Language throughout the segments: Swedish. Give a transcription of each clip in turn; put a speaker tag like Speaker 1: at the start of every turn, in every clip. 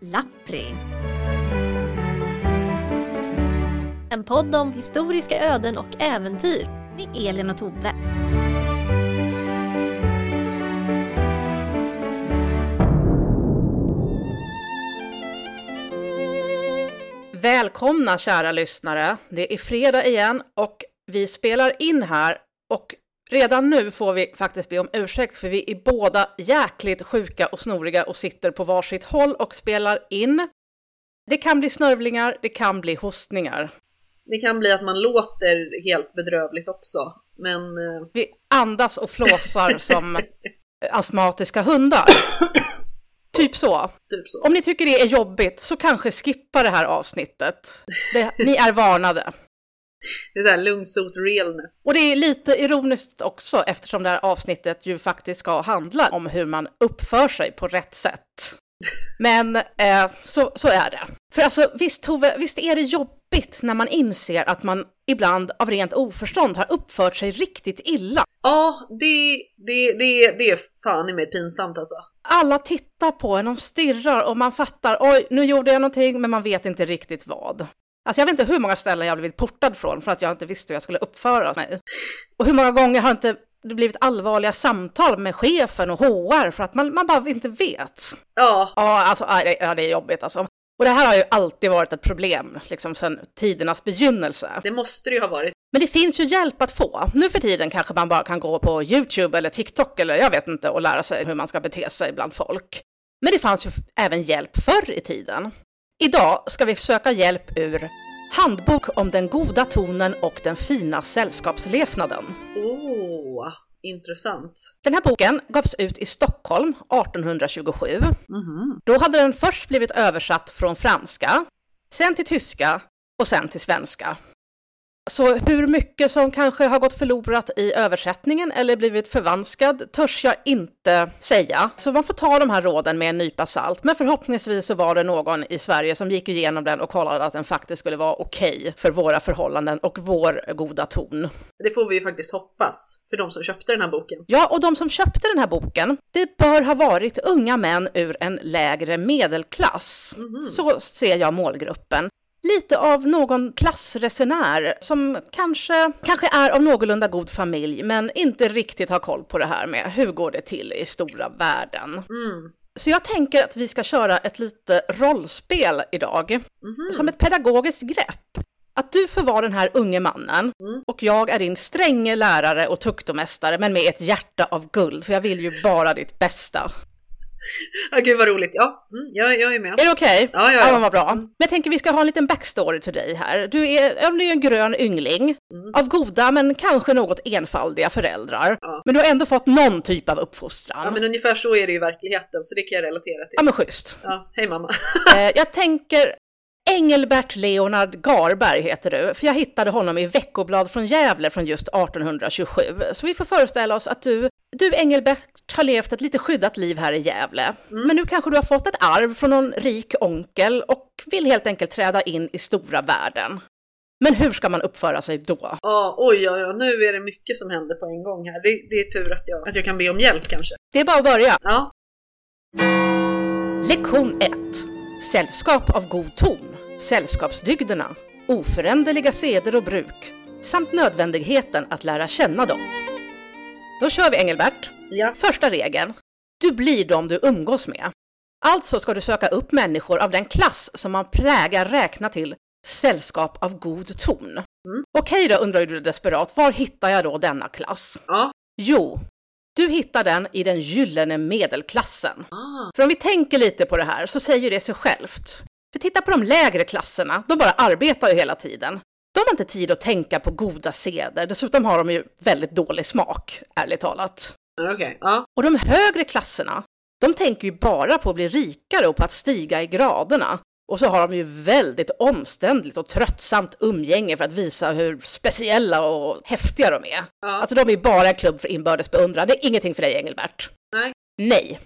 Speaker 1: utveckling. En podd om historiska öden och äventyr med Elin och Tove.
Speaker 2: Välkomna kära lyssnare. Det är fredag igen och vi spelar in här och redan nu får vi faktiskt be om ursäkt för vi är båda jäkligt sjuka och snoriga och sitter på varsitt håll och spelar in. Det kan bli snörvlingar, det kan bli hostningar.
Speaker 3: Det kan bli att man låter helt bedrövligt också, men eh,
Speaker 2: Vi andas och flåsar som astmatiska hundar. Typ så.
Speaker 3: typ så.
Speaker 2: Om ni tycker det är jobbigt så kanske skippa det här avsnittet. Det, ni är varnade.
Speaker 3: Det är såhär lungsot realness.
Speaker 2: Och det är lite ironiskt också eftersom det här avsnittet ju faktiskt ska handla om hur man uppför sig på rätt sätt. Men eh, så, så är det. För alltså visst Tove, visst är det jobbigt när man inser att man ibland av rent oförstånd har uppfört sig riktigt illa.
Speaker 3: Ja, det, det, det, det är fan i mig pinsamt alltså.
Speaker 2: Alla tittar på en och stirrar och man fattar oj, nu gjorde jag någonting men man vet inte riktigt vad. Alltså jag vet inte hur många ställen jag har blivit portad från för att jag inte visste hur jag skulle uppföra mig. Och hur många gånger har inte det blivit allvarliga samtal med chefen och HR för att man, man bara inte vet.
Speaker 3: Ja,
Speaker 2: Ja, alltså aj, det- ja, det är jobbigt alltså. Och det här har ju alltid varit ett problem, liksom sedan tidernas begynnelse.
Speaker 3: det måste det ju ha varit.
Speaker 2: Men det finns ju hjälp att få. Nu för tiden kanske man bara kan gå på YouTube eller TikTok eller jag vet inte och lära sig hur man ska bete sig bland folk. Men det fanns ju f- även hjälp förr i tiden. Idag ska vi söka hjälp ur Handbok om den goda tonen och den fina sällskapslevnaden.
Speaker 3: Åh, intressant.
Speaker 2: Den här boken gavs ut i Stockholm 1827.
Speaker 3: Mhm.
Speaker 2: Då hade den först blivit översatt från franska, sen till tyska och sen till svenska. Så hur mycket som kanske har gått förlorat i översättningen eller blivit förvanskad törs jag inte säga. Så man får ta de här råden med en nypa salt. Men förhoppningsvis så var det någon i Sverige som gick igenom den och kollade att den faktiskt skulle vara okej för våra förhållanden och vår goda ton.
Speaker 3: Det får vi ju faktiskt hoppas för de som köpte den här boken.
Speaker 2: Ja, och de som köpte den här boken, det bör ha varit unga män ur en lägre medelklass. Så ser jag målgruppen. Lite av någon klassresenär som kanske, kanske är av någorlunda god familj, men inte riktigt har koll på det här med hur går det till i stora världen.
Speaker 3: Mm.
Speaker 2: Så jag tänker att vi ska köra ett lite rollspel idag,
Speaker 3: Mhm.
Speaker 2: som ett pedagogiskt grepp. Att du får vara den här unge mannen
Speaker 3: Mm.
Speaker 2: och jag är din stränge lärare och tuktomästare men med ett hjärta av guld för jag vill ju bara ditt bästa.
Speaker 3: Ja, gud vad roligt. Ja, mm, jag, jag är med.
Speaker 2: Är det okej?
Speaker 3: Ja, ja, Mm. ja.
Speaker 2: men vad bra. Men jag tänker vi ska ha en liten backstory till dig här. Du är, ja, men du är en grön yngling
Speaker 3: Mm.
Speaker 2: av goda men kanske något enfaldiga föräldrar.
Speaker 3: Ja.
Speaker 2: Men du har ändå fått någon typ av uppfostran.
Speaker 3: Ja, men ungefär så är det ju i verkligheten, så det kan jag relatera till.
Speaker 2: ja men schysst.
Speaker 3: Ja, hej mamma.
Speaker 2: Eh, jag tänker Engelbert Leonard Garberg heter du, för jag hittade honom i veckoblad från Gävle från just 1827. Så vi får föreställa oss att du, du Engelbert har levt ett lite skyddat liv här i Gävle. Men nu kanske du har fått ett arv från någon rik onkel och vill helt enkelt träda in i stora världen. Men hur ska man uppföra sig då?
Speaker 3: Ja, oj, oj, oj, nu är det mycket som händer på en gång här. Det, det är tur att jag, att jag kan be om hjälp kanske.
Speaker 2: Det är bara att börja.
Speaker 3: Ja,
Speaker 2: Lektion 1. Sällskap av god ton, sällskapsdygderna, oföränderliga seder och bruk samt nödvändigheten att lära känna dem. Då kör vi Engelbert.
Speaker 3: ja,
Speaker 2: Första regeln. Du blir de du umgås med. Alltså ska du söka upp människor av den klass som man prägar räkna till sällskap av god ton. Okej då undrar ju du desperat, var hittar jag då denna klass?
Speaker 3: ja.
Speaker 2: Jo, du hittar den i den gyllene medelklassen.
Speaker 3: Ah,
Speaker 2: För om vi tänker lite på det här så säger det sig självt. För titta på de lägre klasserna, de bara arbetar ju hela tiden. De har inte tid att tänka på goda seder, dessutom har de ju väldigt dålig smak, ärligt talat.
Speaker 3: okej. Ja,
Speaker 2: Och de högre klasserna, de tänker ju bara på att bli rikare och på att stiga i graderna. Och så har de ju väldigt omständligt och tröttsamt umgänge för att visa hur speciella och häftiga de är.
Speaker 3: ja.
Speaker 2: Alltså de är bara en klubb för inbördes beundran. Det är ingenting för dig Engelbert.
Speaker 3: Nej.
Speaker 2: Nej.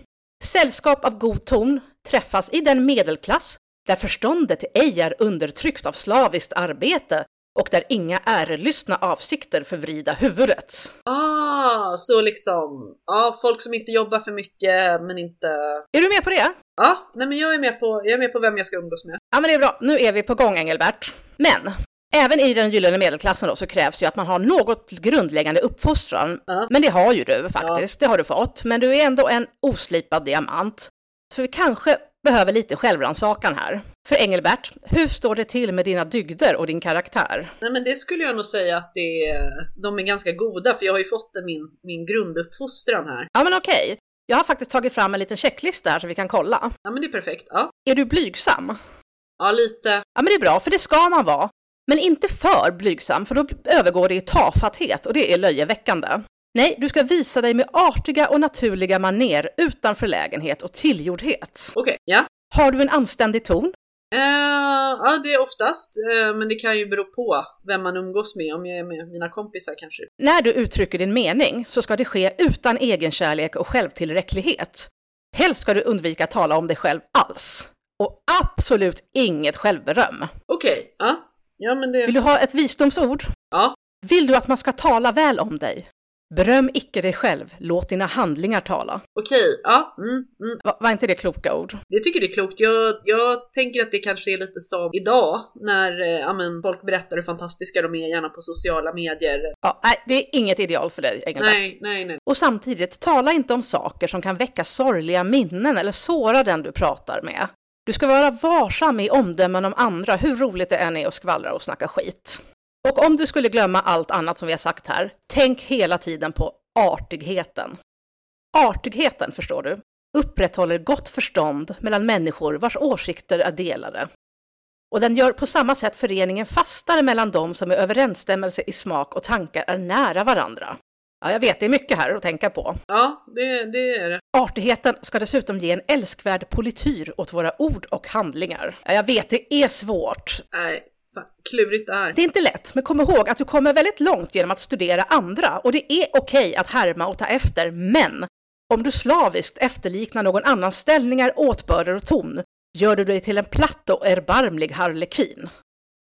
Speaker 2: Sällskap av god ton träffas i den medelklass där förståndet ej är undertryckt av slaviskt arbete och där inga ärelystna avsikter förvrida huvudet.
Speaker 3: Ah, så liksom, ja, folk som inte jobbar för mycket men inte,
Speaker 2: Är du med på det?
Speaker 3: Ja, nej men jag är, med på, jag är med på vem jag ska umgås med.
Speaker 2: Ja men det är bra, nu är vi på gång Engelbert. Men, även i den gyllene medelklassen då så krävs ju att man har något grundläggande uppfostran.
Speaker 3: Ja.
Speaker 2: Men det har ju du faktiskt, det har du fått. Men du är ändå en oslipad diamant. Så vi kanske behöver lite självrannsakan här. För Engelbert, hur står det till med dina dygder och din karaktär?
Speaker 3: Nej men det skulle jag nog säga att det är, de är ganska goda för jag har ju fått det min, min grunduppfostran här.
Speaker 2: Ja men okej, jag har faktiskt tagit fram en liten checklista här så vi kan kolla.
Speaker 3: Ja men det är perfekt. Ja,
Speaker 2: Är du blygsam?
Speaker 3: ja lite.
Speaker 2: Ja men det är bra, för det ska man vara. Men inte för blygsam, för då övergår det i tafatthet och det är löjeväckande. Nej, du ska visa dig med artiga och naturliga maner utan förlägenhet och tillgjordhet.
Speaker 3: Okej, ja.
Speaker 2: Har du en anständig ton?
Speaker 3: Eh, ja det är oftast, eh, men det kan ju bero på vem man umgås med. Om jag är med mina kompisar kanske.
Speaker 2: När du uttrycker din mening så ska det ske utan egenkärlek och självtillräcklighet. Helst ska du undvika att tala om dig själv alls. Och absolut inget självberöm.
Speaker 3: Okej, ja. Ja men det...
Speaker 2: Vill du ha ett visdomsord?
Speaker 3: Ja.
Speaker 2: Vill du att man ska tala väl om dig? Beröm icke dig själv, låt dina handlingar tala.
Speaker 3: Okej, ja. Mm, mm.
Speaker 2: Va- var inte det kloka ord?
Speaker 3: Det tycker det är klokt. Jag, jag tänker att det kanske är lite som idag när eh, ja, men folk berättar hur fantastiska de är gärna på sociala medier.
Speaker 2: Ja, nej, det är inget ideal för dig, Engelbert.
Speaker 3: Nej, nej, nej.
Speaker 2: Och samtidigt, tala inte om saker som kan väcka sorgliga minnen eller såra den du pratar med. Du ska vara varsam i omdömen om andra, hur roligt det än är att skvallra och snacka skit. Och om du skulle glömma allt annat som vi har sagt här, tänk hela tiden på artigheten. Artigheten, förstår du, upprätthåller gott förstånd mellan människor vars åsikter är delade. Och den gör på samma sätt föreningen fastare mellan dem som i överensstämmelse i smak och tankar är nära varandra. Ja, jag vet, det är mycket här att tänka på.
Speaker 3: Ja, det, det är det.
Speaker 2: Artigheten ska dessutom ge en älskvärd polityr åt våra ord och handlingar. Ja, jag vet, det är svårt.
Speaker 3: Nej, fan, klurigt det här.
Speaker 2: Det är inte lätt, men kom ihåg att du kommer väldigt långt genom att studera andra och det är okej att härma och ta efter, men om du slaviskt efterliknar någon annans ställningar, åtbörder och ton gör du dig till en platt och erbarmlig harlekin.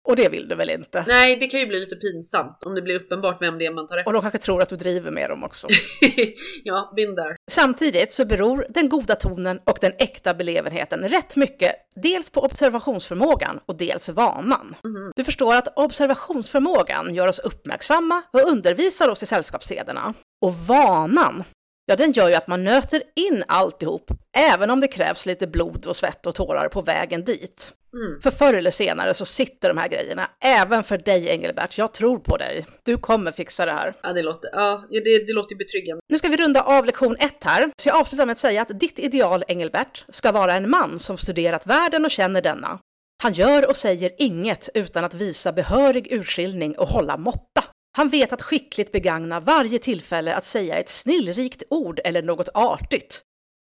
Speaker 2: Och det vill du väl inte?
Speaker 3: Nej, det kan ju bli lite pinsamt om det blir uppenbart vem det är man tar
Speaker 2: Och de kanske tror att du driver med dem också.
Speaker 3: efter. ja, bin där.
Speaker 2: Samtidigt så beror den goda tonen och den äkta belevenheten rätt mycket dels på observationsförmågan och dels vanan. Du förstår att observationsförmågan gör oss uppmärksamma och undervisar oss i sällskapssederna. Och vanan, ja den gör ju att man nöter in alltihop, även om det krävs lite blod och svett och tårar på vägen dit.
Speaker 3: Mm.
Speaker 2: För förr eller senare så sitter de här grejerna, även för dig Engelbert, jag tror på dig. Du kommer fixa det här.
Speaker 3: Ja, det låter, ja, det, det låter ju betryggande.
Speaker 2: Nu ska vi runda av lektion ett här, så jag avslutar med att säga att ditt ideal, Engelbert, ska vara en man som studerat världen och känner denna. Han gör och säger inget utan att visa behörig urskiljning och hålla måtta. Han vet att skickligt begagna varje tillfälle att säga ett snillrikt ord eller något artigt.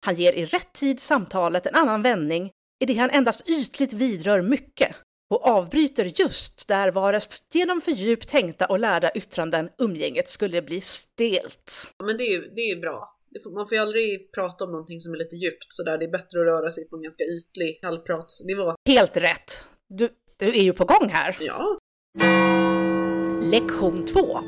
Speaker 2: Han ger i rätt tid samtalet en annan vändning i det han endast ytligt vidrör mycket och avbryter just där varest genom för djupt tänkta och lärda yttranden umgänget skulle bli stelt.
Speaker 3: Ja, Men det är ju det är ju bra. Det får- Man får ju aldrig prata om någonting som är lite djupt sådär. Det är bättre att röra sig på en ganska ytlig kallpratsnivå.
Speaker 2: Helt rätt. Du, du är ju på gång här.
Speaker 3: Ja,
Speaker 2: Lektion 2.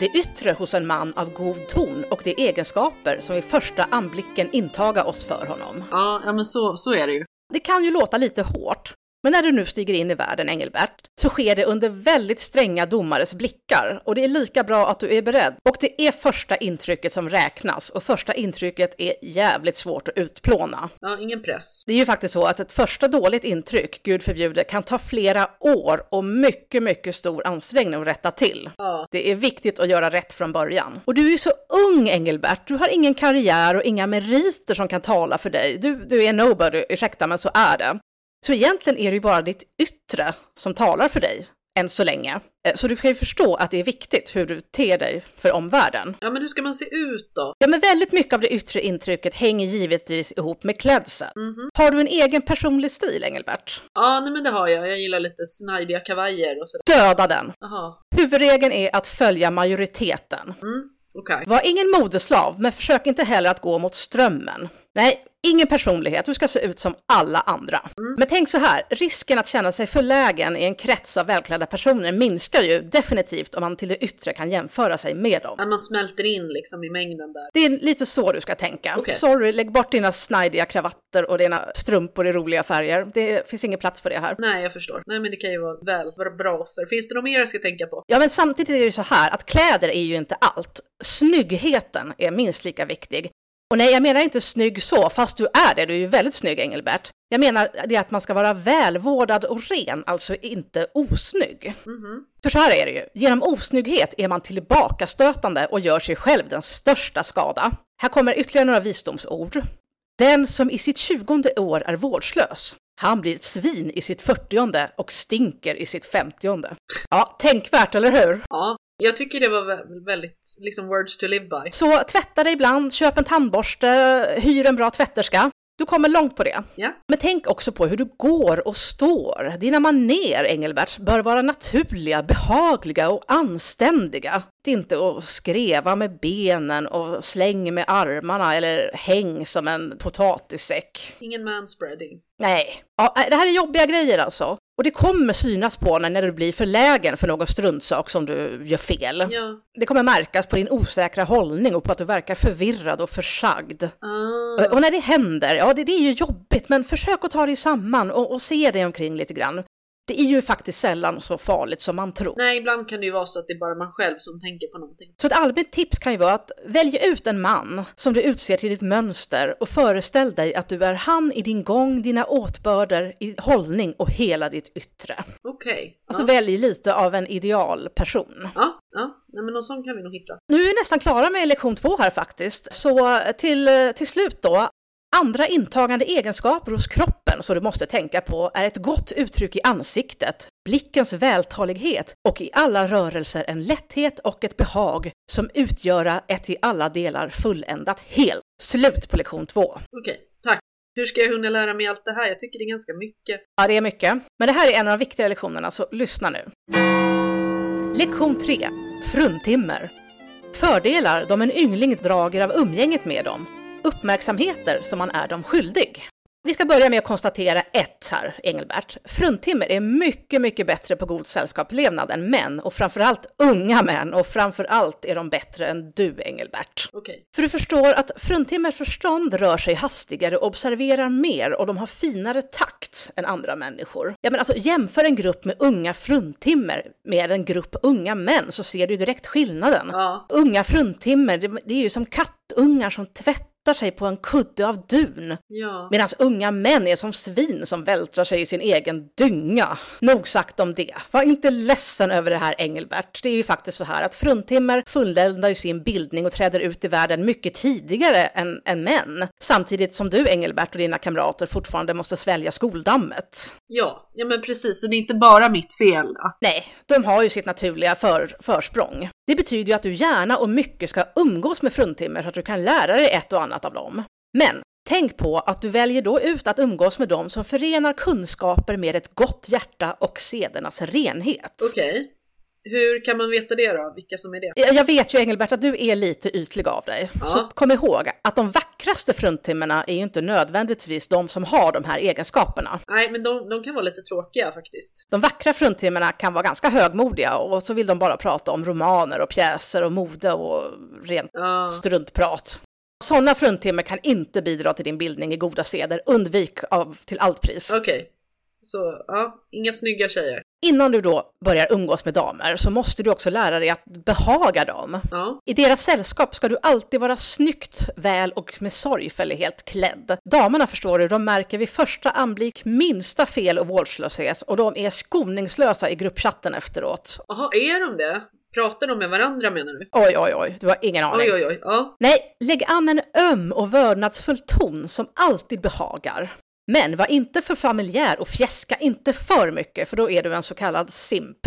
Speaker 2: Det yttre hos en man av god ton och de egenskaper som vid första anblicken intaga oss för honom.
Speaker 3: ja, ja men så, så är det ju.
Speaker 2: Det kan ju låta lite hårt, men när du nu stiger in i världen, Engelbert, så sker det under väldigt stränga domares blickar och det är lika bra att du är beredd. Och det är första intrycket som räknas och första intrycket är jävligt svårt att utplåna.
Speaker 3: Ja, ingen press.
Speaker 2: Det är ju faktiskt så att ett första dåligt intryck, gud förbjude, kan ta flera år och mycket, mycket stor ansträngning att rätta till.
Speaker 3: Ja,
Speaker 2: Det är viktigt att göra rätt från början. Och du är ju så ung Engelbert, du har ingen karriär och inga meriter som kan tala för dig. Du, du är nobody, ursäkta men så är det. Så egentligen är det ju bara ditt yttre som talar för dig, än så länge. Eh, Så du kan ju förstå att det är viktigt hur du ter dig för omvärlden.
Speaker 3: ja men hur ska man se ut då?
Speaker 2: Ja, men väldigt mycket av det yttre intrycket hänger givetvis ihop med klädseln.
Speaker 3: Mhm.
Speaker 2: Har du en egen personlig stil, Engelbert?
Speaker 3: Ja, nej men det har jag. Jag gillar lite snajdiga kavajer och sådär.
Speaker 2: Döda den!
Speaker 3: Jaha,
Speaker 2: Huvudregeln är att följa majoriteten.
Speaker 3: mm, okej.
Speaker 2: Var ingen modeslav, men försök inte heller att gå mot strömmen. Nej, ingen personlighet, du ska se ut som alla andra.
Speaker 3: Mm.
Speaker 2: Men tänk så här, risken att känna sig förlägen i en krets av välklädda personer minskar ju definitivt om man till det yttre kan jämföra sig med dem.
Speaker 3: Att man smälter in liksom i mängden där.
Speaker 2: Det är lite så du ska tänka.
Speaker 3: Okej.
Speaker 2: Sorry, lägg bort dina snajdiga kravatter och dina strumpor i roliga färger. Det finns ingen plats för det här.
Speaker 3: Nej, jag förstår. Nej, men det kan ju vara väl vara bra för. Finns det något mer jag ska tänka på?
Speaker 2: Ja, men samtidigt är det ju så här att kläder är ju inte allt. Snyggheten är minst lika viktig. Och nej, jag menar inte snygg så, fast du är det. Du är ju väldigt snygg, Engelbert. Jag menar det att man ska vara välvårdad och ren, alltså inte osnygg.
Speaker 3: Mhm.
Speaker 2: För så här är det ju, genom osnygghet är man tillbakastötande och gör sig själv den största skada. Här kommer ytterligare några visdomsord. Den som i sitt tjugonde år är vårdslös, han blir ett svin i sitt fyrtionde och stinker i sitt femtionde. Ja, tänkvärt, eller hur?
Speaker 3: Ja, jag tycker det var vä- väldigt liksom words to live by.
Speaker 2: Så tvätta dig ibland, köp en tandborste, hyr en bra tvätterska. Du kommer långt på det.
Speaker 3: Ja.
Speaker 2: Men tänk också på hur du går och står. Dina manér, Engelbert, bör vara naturliga, behagliga och anständiga. Det är inte att skreva med benen och släng med armarna eller häng som en potatissäck.
Speaker 3: Ingen manspreading.
Speaker 2: Nej, ja, äh, det här är jobbiga grejer alltså. Och det kommer synas på när när du blir förlägen för någon struntsak som du gör fel.
Speaker 3: Ja.
Speaker 2: Det kommer märkas på din osäkra hållning och på att du verkar förvirrad och försagd.
Speaker 3: Ah.
Speaker 2: Och- Och när det händer, ja det, det är ju jobbigt, men försök att ta dig samman och, och se dig omkring lite grann. Det är ju faktiskt sällan så farligt som man tror.
Speaker 3: Nej, ibland kan det ju vara så att det är bara man själv som tänker på någonting.
Speaker 2: Så ett allmänt tips kan ju vara att välja ut en man som du utser till ditt mönster och föreställ dig att du är han i din gång, dina åtbörder, i hållning och hela ditt yttre.
Speaker 3: Okej.
Speaker 2: Alltså
Speaker 3: ja.
Speaker 2: välj lite av en idealperson.
Speaker 3: ja, ja. Nej, men någon sån kan vi nog hitta.
Speaker 2: Nu är vi nästan klara med lektion två här faktiskt. Så eh, till, till slut då. Andra intagande egenskaper hos kroppen som du måste tänka på är ett gott uttryck i ansiktet, blickens vältalighet och i alla rörelser en lätthet och ett behag som utgöra ett i alla delar fulländat helt. Slut på lektion två.
Speaker 3: Okej, tack. Hur ska jag hinna lära mig allt det här? Jag tycker det är ganska mycket.
Speaker 2: Ja, det är mycket. Men det här är en av de viktigare lektionerna, så lyssna nu. Lektion 3. Fruntimmer. Fördelar de en yngling drager av umgänget med dem. Uppmärksamheter som man är dem skyldig. Vi ska börja med att konstatera ett här, Engelbert. Fruntimmer är mycket, mycket bättre på god sällskapslevnad än män och framförallt unga män och framförallt är de bättre än du, Engelbert.
Speaker 3: Okej.
Speaker 2: För du förstår att fruntimmers förstånd rör sig hastigare, observerar mer och de har finare takt än andra människor. Ja, men alltså, jämför en grupp med unga fruntimmer med en grupp unga män så ser du direkt skillnaden.
Speaker 3: Ja.
Speaker 2: Unga fruntimmer, det, det är ju som kattungar som tvättar sig på en kudde av dun.
Speaker 3: Ja.
Speaker 2: Medan unga män är som svin som vältrar sig i sin egen dynga. Nog sagt om det. Var inte ledsen över det här Engelbert. Det är ju faktiskt så här att fruntimmer fulländar ju sin bildning och träder ut i världen mycket tidigare än, än män. Samtidigt som du Engelbert och dina kamrater fortfarande måste svälja skoldammet.
Speaker 3: Ja. Ja, men precis. Så det är inte bara mitt fel att...
Speaker 2: Nej, de har ju sitt naturliga för, försprång. Det betyder ju att du gärna och mycket ska umgås med fruntimmer så att du kan lära dig ett och annat av dem. Men tänk på att du väljer då ut att umgås med dem som förenar kunskaper med ett gott hjärta och sedernas renhet.
Speaker 3: Okej. Hur kan man veta det då? Vilka som är det?
Speaker 2: Jag jag vet ju Engelbert att du är lite ytlig av dig.
Speaker 3: Ja.
Speaker 2: Så kom ihåg att de vackraste fruntimmerna är ju inte nödvändigtvis de som har de här egenskaperna.
Speaker 3: Nej, men de, de kan vara lite tråkiga faktiskt.
Speaker 2: De vackra fruntimmerna kan vara ganska högmodiga och så vill de bara prata om romaner och pjäser och mode och rent
Speaker 3: Ja.
Speaker 2: struntprat. Sådana fruntimmer kan inte bidra till din bildning i goda seder. Undvik av, till allt pris.
Speaker 3: Okej. Så, ja. Inga snygga tjejer.
Speaker 2: Innan du då börjar umgås med damer så måste du också lära dig att behaga dem.
Speaker 3: Ja.
Speaker 2: I deras sällskap ska du alltid vara snyggt, väl och med sorgfällighet klädd. Damerna förstår du, de märker vid första anblick minsta fel och vårdslöshet och de är skoningslösa i gruppchatten efteråt.
Speaker 3: Jaha, är de det? Pratar de med varandra menar du?
Speaker 2: Oj, oj, oj, du har ingen aning.
Speaker 3: Oj, oj, oj. Ja.
Speaker 2: Nej, lägg an en öm och vördnadsfull ton som alltid behagar. Men var inte för familjär och fjäska inte för mycket, för då är du en så kallad simp.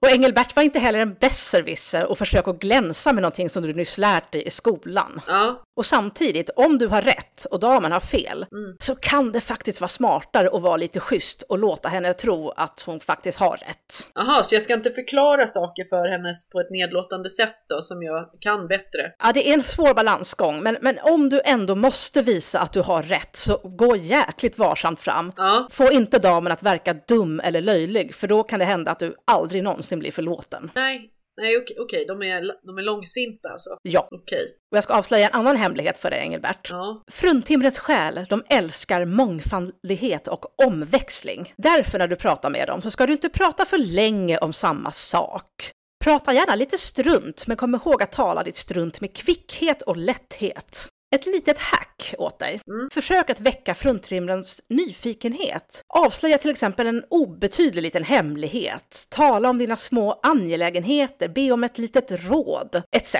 Speaker 2: Och Engelbert var inte heller en besserwisser och försök att glänsa med någonting som du nyss lärt dig i skolan.
Speaker 3: Ja.
Speaker 2: Och samtidigt, om du har rätt och damen har fel,
Speaker 3: Mm.
Speaker 2: så kan det faktiskt vara smartare att vara lite schysst och låta henne tro att hon faktiskt har rätt.
Speaker 3: Aha, så jag ska inte förklara saker för henne på ett nedlåtande sätt då, som jag kan bättre?
Speaker 2: Ja, det är en svår balansgång, men, men om du ändå måste visa att du har rätt, så gå jäkligt varsamt fram.
Speaker 3: Ja,
Speaker 2: Få inte damen att verka dum eller löjlig, för då kan det hända att du aldrig någonsin blir förlåten.
Speaker 3: nej, nej okej, okej, de, är, de är långsinta alltså.
Speaker 2: Ja,
Speaker 3: Okej,
Speaker 2: och jag ska avslöja en annan hemlighet för dig, Engelbert.
Speaker 3: ja.
Speaker 2: Fruntimrets själ, de älskar mångfaldighet och omväxling. Därför när du pratar med dem så ska du inte prata för länge om samma sak. Prata gärna lite strunt, men kom ihåg att tala ditt strunt med kvickhet och lätthet. Ett litet hack åt dig.
Speaker 3: Mm.
Speaker 2: Försök att väcka fruntimrens nyfikenhet. Avslöja till exempel en obetydlig liten hemlighet. Tala om dina små angelägenheter, be om ett litet råd, etc.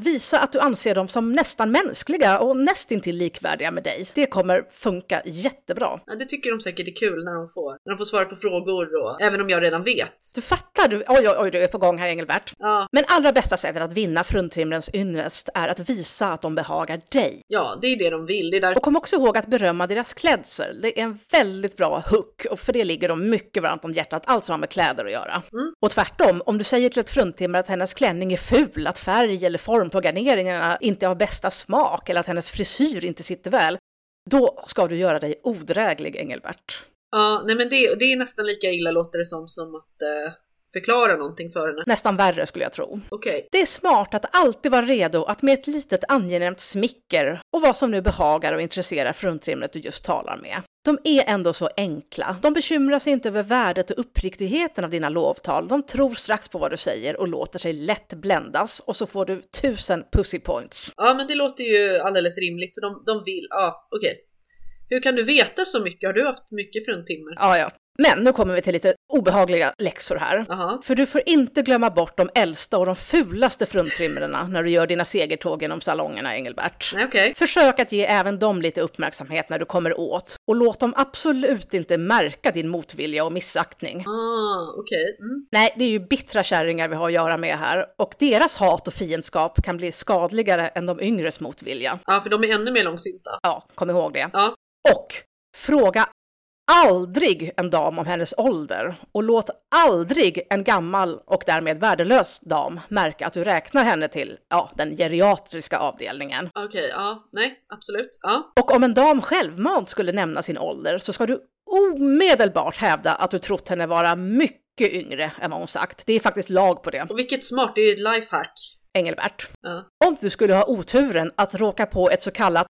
Speaker 2: Visa att du anser dem som nästan mänskliga och nästintill likvärdiga med dig. Det kommer funka jättebra.
Speaker 3: ja, det tycker de säkert är kul när de får, när de får svara på frågor och även om jag redan vet.
Speaker 2: Du fattar, du, oj oj oj, du är på gång här Engelbert.
Speaker 3: Ja,
Speaker 2: Men allra bästa sättet att vinna fruntimrens ynnest är att visa att de behagar dig.
Speaker 3: ja, det är det de vill. Det är där...
Speaker 2: Och kom också ihåg att berömma deras klädsel. Det är en väldigt bra hook och för det ligger de mycket varmt om hjärtat, allt som har med kläder att göra.
Speaker 3: Mm.
Speaker 2: Och tvärtom, om du säger till ett fruntimmer att hennes klänning är ful, att färg eller form på garneringarna inte har bästa smak eller att hennes frisyr inte sitter väl, då ska du göra dig odräglig, Engelbert.
Speaker 3: Ja, nej men det, det är nästan lika illa låter det som, som att eh, förklara någonting för henne.
Speaker 2: Nästan värre skulle jag tro.
Speaker 3: Okej,
Speaker 2: Det är smart att alltid vara redo att med ett litet angenämt smicker och vad som nu behagar och intresserar fruntimret du just talar med. De är ändå så enkla. De bekymrar sig inte över värdet och uppriktigheten av dina lovtal. De tror strax på vad du säger och låter sig lätt bländas och så får du tusen pussy points.
Speaker 3: ja men det låter ju alldeles rimligt så de, de vill, ja okej. Hur kan du veta så mycket? Har du haft mycket fruntimmer?
Speaker 2: Ja, ja. Men nu kommer vi till lite obehagliga läxor här.
Speaker 3: Jaha,
Speaker 2: För du får inte glömma bort de äldsta och de fulaste fruntimmerna när du gör dina segertåg genom salongerna, Engelbert.
Speaker 3: nej okej.
Speaker 2: Försök att ge även dem lite uppmärksamhet när du kommer åt och låt dem absolut inte märka din motvilja och missaktning.
Speaker 3: Ah, okej. Mm.
Speaker 2: Nej, det är ju bittra kärringar vi har att göra med här och deras hat och fiendskap kan bli skadligare än de yngres motvilja.
Speaker 3: Ja, för de är ännu mer långsinta.
Speaker 2: Ja, kom ihåg det.
Speaker 3: Ja.
Speaker 2: Och fråga aldrig en dam om hennes ålder och låt aldrig en gammal och därmed värdelös dam märka att du räknar henne till, ja, den geriatriska avdelningen.
Speaker 3: Okej, ja, nej, absolut. Ja,
Speaker 2: Och om en dam självmant skulle nämna sin ålder så ska du omedelbart hävda att du trott henne vara mycket yngre än vad hon sagt. Det är faktiskt lag på det,
Speaker 3: och vilket smart, det är ett lifehack.
Speaker 2: Engelbert.
Speaker 3: Ja.
Speaker 2: Om du skulle ha oturen att råka på ett så kallat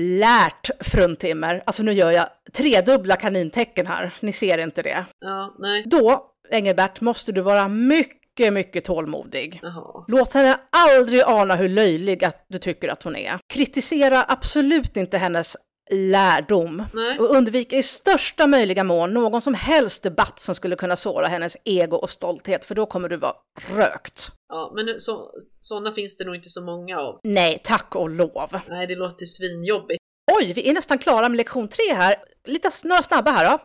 Speaker 2: lärt fruntimmer, alltså nu gör jag tredubbla kanintecken här, ni ser inte det.
Speaker 3: Ja, nej.
Speaker 2: Då, Engelbert, måste du vara mycket, mycket tålmodig.
Speaker 3: Jaha.
Speaker 2: Låt henne aldrig ana hur löjlig att du tycker att hon är. Kritisera absolut inte hennes lärdom.
Speaker 3: Nej.
Speaker 2: Och undvik i största möjliga mån någon som helst debatt som skulle kunna såra hennes ego och stolthet, för då kommer du vara rökt.
Speaker 3: Ja, men nu- så, sådana finns det nog inte så många av.
Speaker 2: Nej, tack och lov.
Speaker 3: Nej, det låter svinjobbigt.
Speaker 2: Oj, vi är nästan klara med lektion tre här. Lite s- några snabba här då.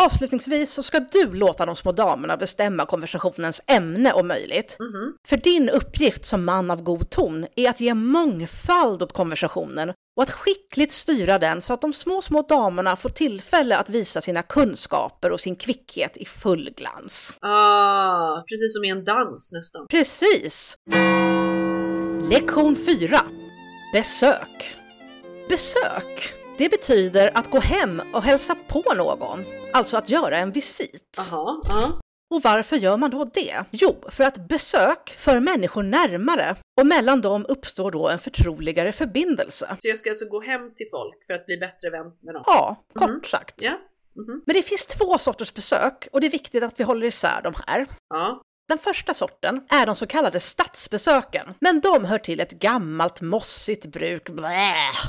Speaker 2: Avslutningsvis så ska du låta de små damerna bestämma konversationens ämne om möjligt.
Speaker 3: Mhm.
Speaker 2: För din uppgift som man av god ton är att ge mångfald åt konversationen och att skickligt styra den så att de små, små damerna får tillfälle att visa sina kunskaper och sin kvickhet i full glans.
Speaker 3: Ah, precis som i en dans nästan.
Speaker 2: Precis! Lektion 4. Besök. Besök. Det betyder att gå hem och hälsa på någon, alltså att göra en visit.
Speaker 3: Jaha, ja.
Speaker 2: Och varför gör man då det? Jo, för att besök för människor närmare och mellan dem uppstår då en förtroligare förbindelse.
Speaker 3: Så jag ska alltså gå hem till folk för att bli bättre vän med dem?
Speaker 2: Ja, kort
Speaker 3: Mhm.
Speaker 2: sagt.
Speaker 3: Ja. Mhm.
Speaker 2: Men det finns två sorters besök och det är viktigt att vi håller isär de här.
Speaker 3: Ja.
Speaker 2: Den första sorten är de så kallade stadsbesöken, men de hör till ett gammalt mossigt bruk. Blä.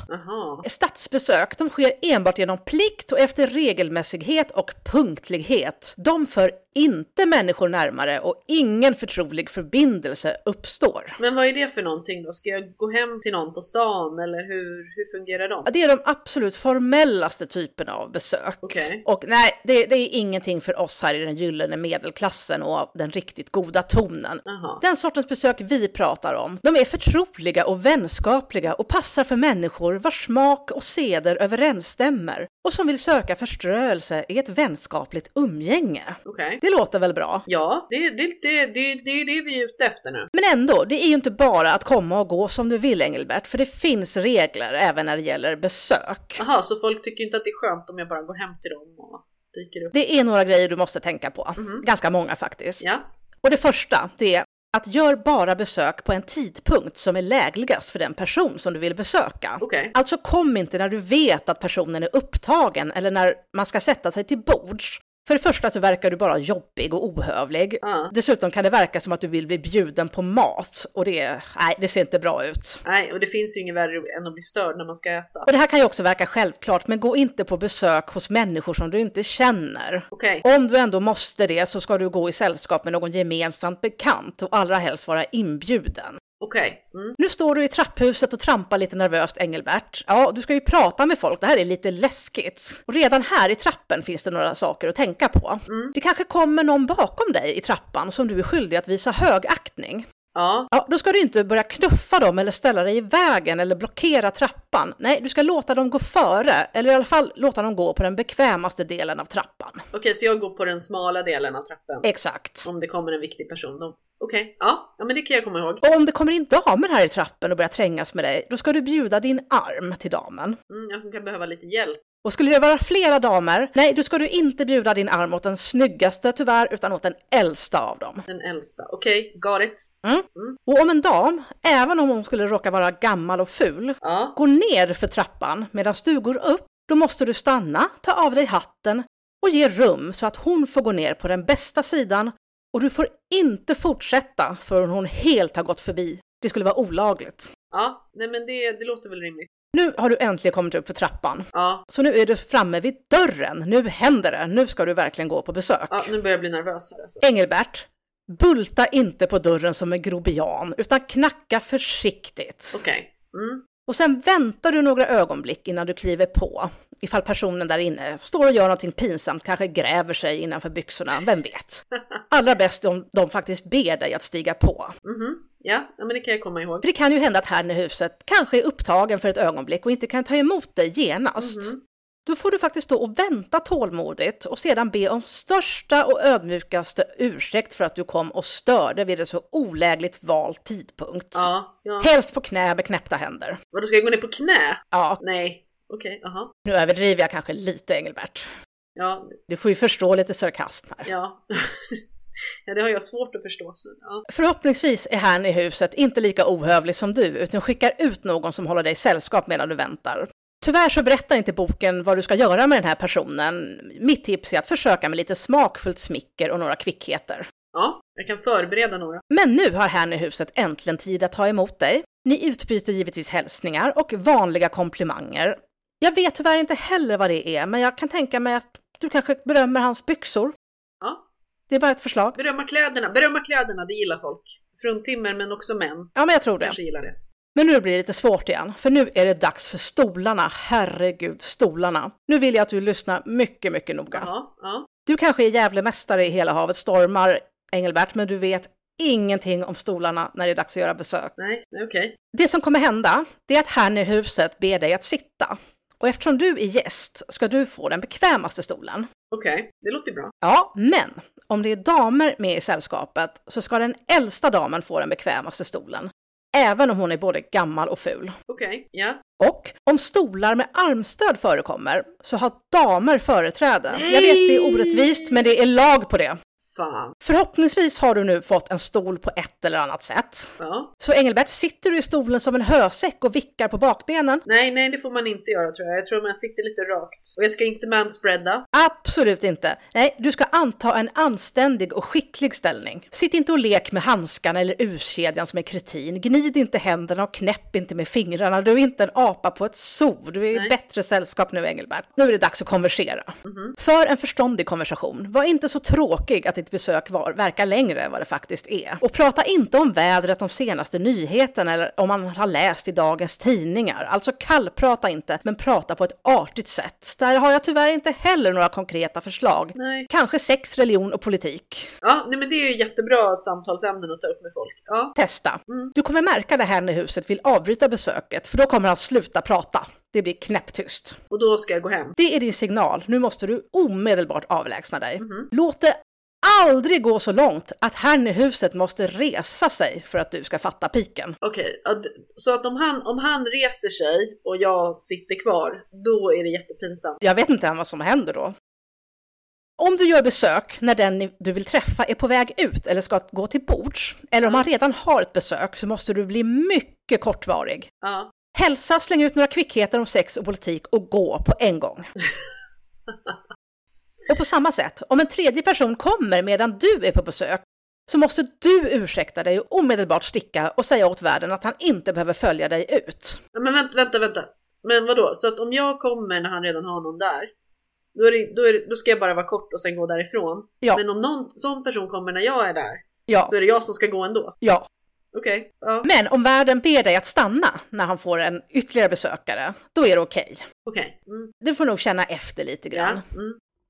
Speaker 3: Jaha.
Speaker 2: Stadsbesök, de sker enbart genom plikt och efter regelmässighet och punktlighet. De för inte människor närmare och ingen förtrolig förbindelse uppstår.
Speaker 3: Men vad är det för någonting då? Ska jag gå hem till någon på stan eller hur, hur fungerar de?
Speaker 2: Ja, Det är de absolut formellaste typerna av besök.
Speaker 3: Okej.
Speaker 2: Och nej, det, det är ingenting för oss här i den gyllene medelklassen och av den riktigt goda tonen.
Speaker 3: Jaha.
Speaker 2: Den sortens besök vi pratar om, de är förtroliga och vänskapliga och passar för människor vars smak och seder överensstämmer och som vill söka förströelse i ett vänskapligt umgänge.
Speaker 3: Okej.
Speaker 2: Det låter väl bra?
Speaker 3: Ja, det, det, det, det, det är det vi är ute efter nu.
Speaker 2: Men ändå, det är ju inte bara att komma och gå som du vill Engelbert, för det finns regler även när det gäller besök.
Speaker 3: Jaha, så folk tycker inte att det är skönt om jag bara går hem till dem och dyker upp?
Speaker 2: Det är några grejer du måste tänka på,
Speaker 3: Mhm.
Speaker 2: ganska många faktiskt.
Speaker 3: Ja,
Speaker 2: Och det första, det är att gör bara besök på en tidpunkt som är lägligast för den person som du vill besöka.
Speaker 3: okej.
Speaker 2: Alltså kom inte när du vet att personen är upptagen eller när man ska sätta sig till bords. För det första så verkar du bara jobbig och ohövlig.
Speaker 3: Ja.
Speaker 2: Dessutom kan det verka som att du vill bli bjuden på mat och det, nej, det ser inte bra ut.
Speaker 3: Nej, och det finns ju inget värre än att bli störd när man ska äta.
Speaker 2: Och det här kan ju också verka självklart, men gå inte på besök hos människor som du inte känner.
Speaker 3: Okej,
Speaker 2: Om du ändå måste det så ska du gå i sällskap med någon gemensamt bekant och allra helst vara inbjuden.
Speaker 3: okej. Mm.
Speaker 2: Nu står du i trapphuset och trampar lite nervöst Engelbert. Ja, du ska ju prata med folk, det här är lite läskigt. Och redan här i trappen finns det några saker att tänka på. Det kanske kommer någon bakom dig i trappan som du är skyldig att visa högaktning.
Speaker 3: Ja,
Speaker 2: Ja, då ska du inte börja knuffa dem eller ställa dig i vägen eller blockera trappan. Nej, du ska låta dem gå före, eller i alla fall låta dem gå på den bekvämaste delen av trappan.
Speaker 3: okej, så jag går på den smala delen av trappen.
Speaker 2: Exakt.
Speaker 3: Om det kommer en viktig person då. Okej, ja. ja, men det kan jag komma ihåg.
Speaker 2: Och om det kommer in damer här i trappen och börjar trängas med dig, då ska du bjuda din arm till damen.
Speaker 3: Mm, jag kan behöva lite hjälp.
Speaker 2: Och skulle det vara flera damer, nej, då ska du inte bjuda din arm åt den snyggaste tyvärr, utan åt den äldsta av dem.
Speaker 3: Den äldsta. Okej, got it.
Speaker 2: Och om en dam, även om hon skulle råka vara gammal och ful,
Speaker 3: Ja,
Speaker 2: går ner för trappan medan du går upp, då måste du stanna, ta av dig hatten och ge rum så att hon får gå ner på den bästa sidan och du får inte fortsätta förrän hon helt har gått förbi. Det skulle vara olagligt.
Speaker 3: ja, nej men det, det låter väl rimligt.
Speaker 2: Nu har du äntligen kommit upp för trappan.
Speaker 3: Ja,
Speaker 2: Så nu är du framme vid dörren. Nu händer det. Nu ska du verkligen gå på besök.
Speaker 3: ja nu börjar jag bli nervös här alltså.
Speaker 2: Engelbert, bulta inte på dörren som en grobian, utan knacka försiktigt.
Speaker 3: Okej. Mm.
Speaker 2: Och sen väntar du några ögonblick innan du kliver på. Ifall personen där inne står och gör någonting pinsamt, kanske gräver sig innanför byxorna, vem vet? Allra bäst om de faktiskt ber dig att stiga på.
Speaker 3: Mhm. Ja, ja, men det kan jag komma ihåg.
Speaker 2: För det kan ju hända att herrn i huset kanske är upptagen för ett ögonblick och inte kan ta emot dig genast.
Speaker 3: Mhm.
Speaker 2: Då får du faktiskt stå och vänta tålmodigt och sedan be om största och ödmjukaste ursäkt för att du kom och störde vid en så olägligt vald tidpunkt.
Speaker 3: Ja, ja.
Speaker 2: Helst på knä med knäppta händer.
Speaker 3: Vadå, ska jag gå ner på knä?
Speaker 2: Ja,
Speaker 3: Nej. Okej, aha.
Speaker 2: nu överdriver jag kanske lite Engelbert.
Speaker 3: Ja,
Speaker 2: Du får ju förstå lite sarkasm här.
Speaker 3: ja. ja, det har jag svårt att förstå. Så, ja.
Speaker 2: Förhoppningsvis är herrn i huset inte lika ohövlig som du, utan skickar ut någon som håller dig sällskap medan du väntar. Tyvärr så berättar inte boken vad du ska göra med den här personen. Mitt tips är att försöka med lite smakfullt smicker och några kvickheter.
Speaker 3: ja, jag kan förbereda några.
Speaker 2: Men nu har herrn i huset äntligen tid att ta emot dig. Ni utbyter givetvis hälsningar och vanliga komplimanger. Jag vet tyvärr inte heller vad det är, men jag kan tänka mig att du kanske berömmer hans byxor.
Speaker 3: Ja.
Speaker 2: Det är bara ett förslag.
Speaker 3: Berömma kläderna, berömma kläderna, det gillar folk. Fruntimmer men också män
Speaker 2: Ja, men jag tror det.
Speaker 3: kanske gillar det.
Speaker 2: Men nu blir det lite svårt igen, för nu är det dags för stolarna. Herregud, stolarna. Nu vill jag att du lyssnar mycket, mycket noga.
Speaker 3: Ja, ja.
Speaker 2: Du kanske är Gävlemästare i hela havet stormar, Engelbert, men du vet ingenting om stolarna när det är dags att göra besök.
Speaker 3: Nej, nej, okej.
Speaker 2: Det som kommer hända, det är att herrn i huset ber dig att sitta. Och eftersom du är gäst ska du få den bekvämaste stolen.
Speaker 3: Okej, det låter bra.
Speaker 2: Ja, men om det är damer med i sällskapet så ska den äldsta damen få den bekvämaste stolen. Även om hon är både gammal och ful.
Speaker 3: Okej, ja.
Speaker 2: Och om stolar med armstöd förekommer så har damer företräde. Jag vet det är orättvist men det är lag på det.
Speaker 3: Fan.
Speaker 2: Förhoppningsvis har du nu fått en stol på ett eller annat sätt.
Speaker 3: Ja.
Speaker 2: Så Engelbert, sitter du i stolen som en hösäck och vickar på bakbenen?
Speaker 3: Nej, nej, det får man inte göra tror jag. Jag tror man sitter lite rakt. Och jag ska inte manspreada.
Speaker 2: Absolut inte. Nej, du ska anta en anständig och skicklig ställning. Sitt inte och lek med handskarna eller urkedjan som är kretin. Gnid inte händerna och knäpp inte med fingrarna. Du är inte en apa på ett zoo. Du är i
Speaker 3: Nej.
Speaker 2: bättre sällskap nu, Engelbert. Nu är det dags att konversera. För en förståndig konversation. Var inte så tråkig att det ditt besök var, verkar längre än vad det faktiskt är. Och prata inte om vädret, de senaste nyheterna eller om man har läst i dagens tidningar. Alltså kallprata inte, men prata på ett artigt sätt. Där har jag tyvärr inte heller några konkreta förslag.
Speaker 3: Nej.
Speaker 2: Kanske sex, religion och politik.
Speaker 3: Ja, nej men det är ju jättebra samtalsämnen att ta upp med folk. Ja.
Speaker 2: Testa.
Speaker 3: Mm.
Speaker 2: Du kommer märka det här när huset vill avbryta besöket, för då kommer han sluta prata. Det blir knäpptyst.
Speaker 3: Och då ska jag gå hem.
Speaker 2: Det är din signal. Nu måste du omedelbart avlägsna dig. Låt det aldrig gå så långt att herrn i huset måste resa sig för att du ska fatta piken.
Speaker 3: Okej, ja, d- så att om han, om han reser sig och jag sitter kvar, då är det jättepinsamt.
Speaker 2: Jag vet inte än vad som händer då. Om du gör besök när den ni- du vill träffa är på väg ut eller ska gå till bords, eller om han redan har ett besök så måste du bli mycket kortvarig.
Speaker 3: Ja.
Speaker 2: Hälsa, släng ut några kvickheter om sex och politik och gå på en gång. Och på samma sätt, om en tredje person kommer medan du är på besök så måste du ursäkta dig och omedelbart sticka och säga åt värden att han inte behöver följa dig ut.
Speaker 3: Ja, Men vänta, vänta, vänta. Men vadå, så att om jag kommer när han redan har någon där, då, är det, då, är det, då ska jag bara vara kort och sen gå därifrån.
Speaker 2: Ja.
Speaker 3: Men om någon sån person kommer när jag är där,
Speaker 2: Ja,
Speaker 3: så är det jag som ska gå ändå.
Speaker 2: ja.
Speaker 3: Okej, ja,
Speaker 2: Men om värden ber dig att stanna när han får en ytterligare besökare, då är det okej.
Speaker 3: okej. Mm,
Speaker 2: Du får nog känna efter lite
Speaker 3: ja,
Speaker 2: grann.
Speaker 3: mm.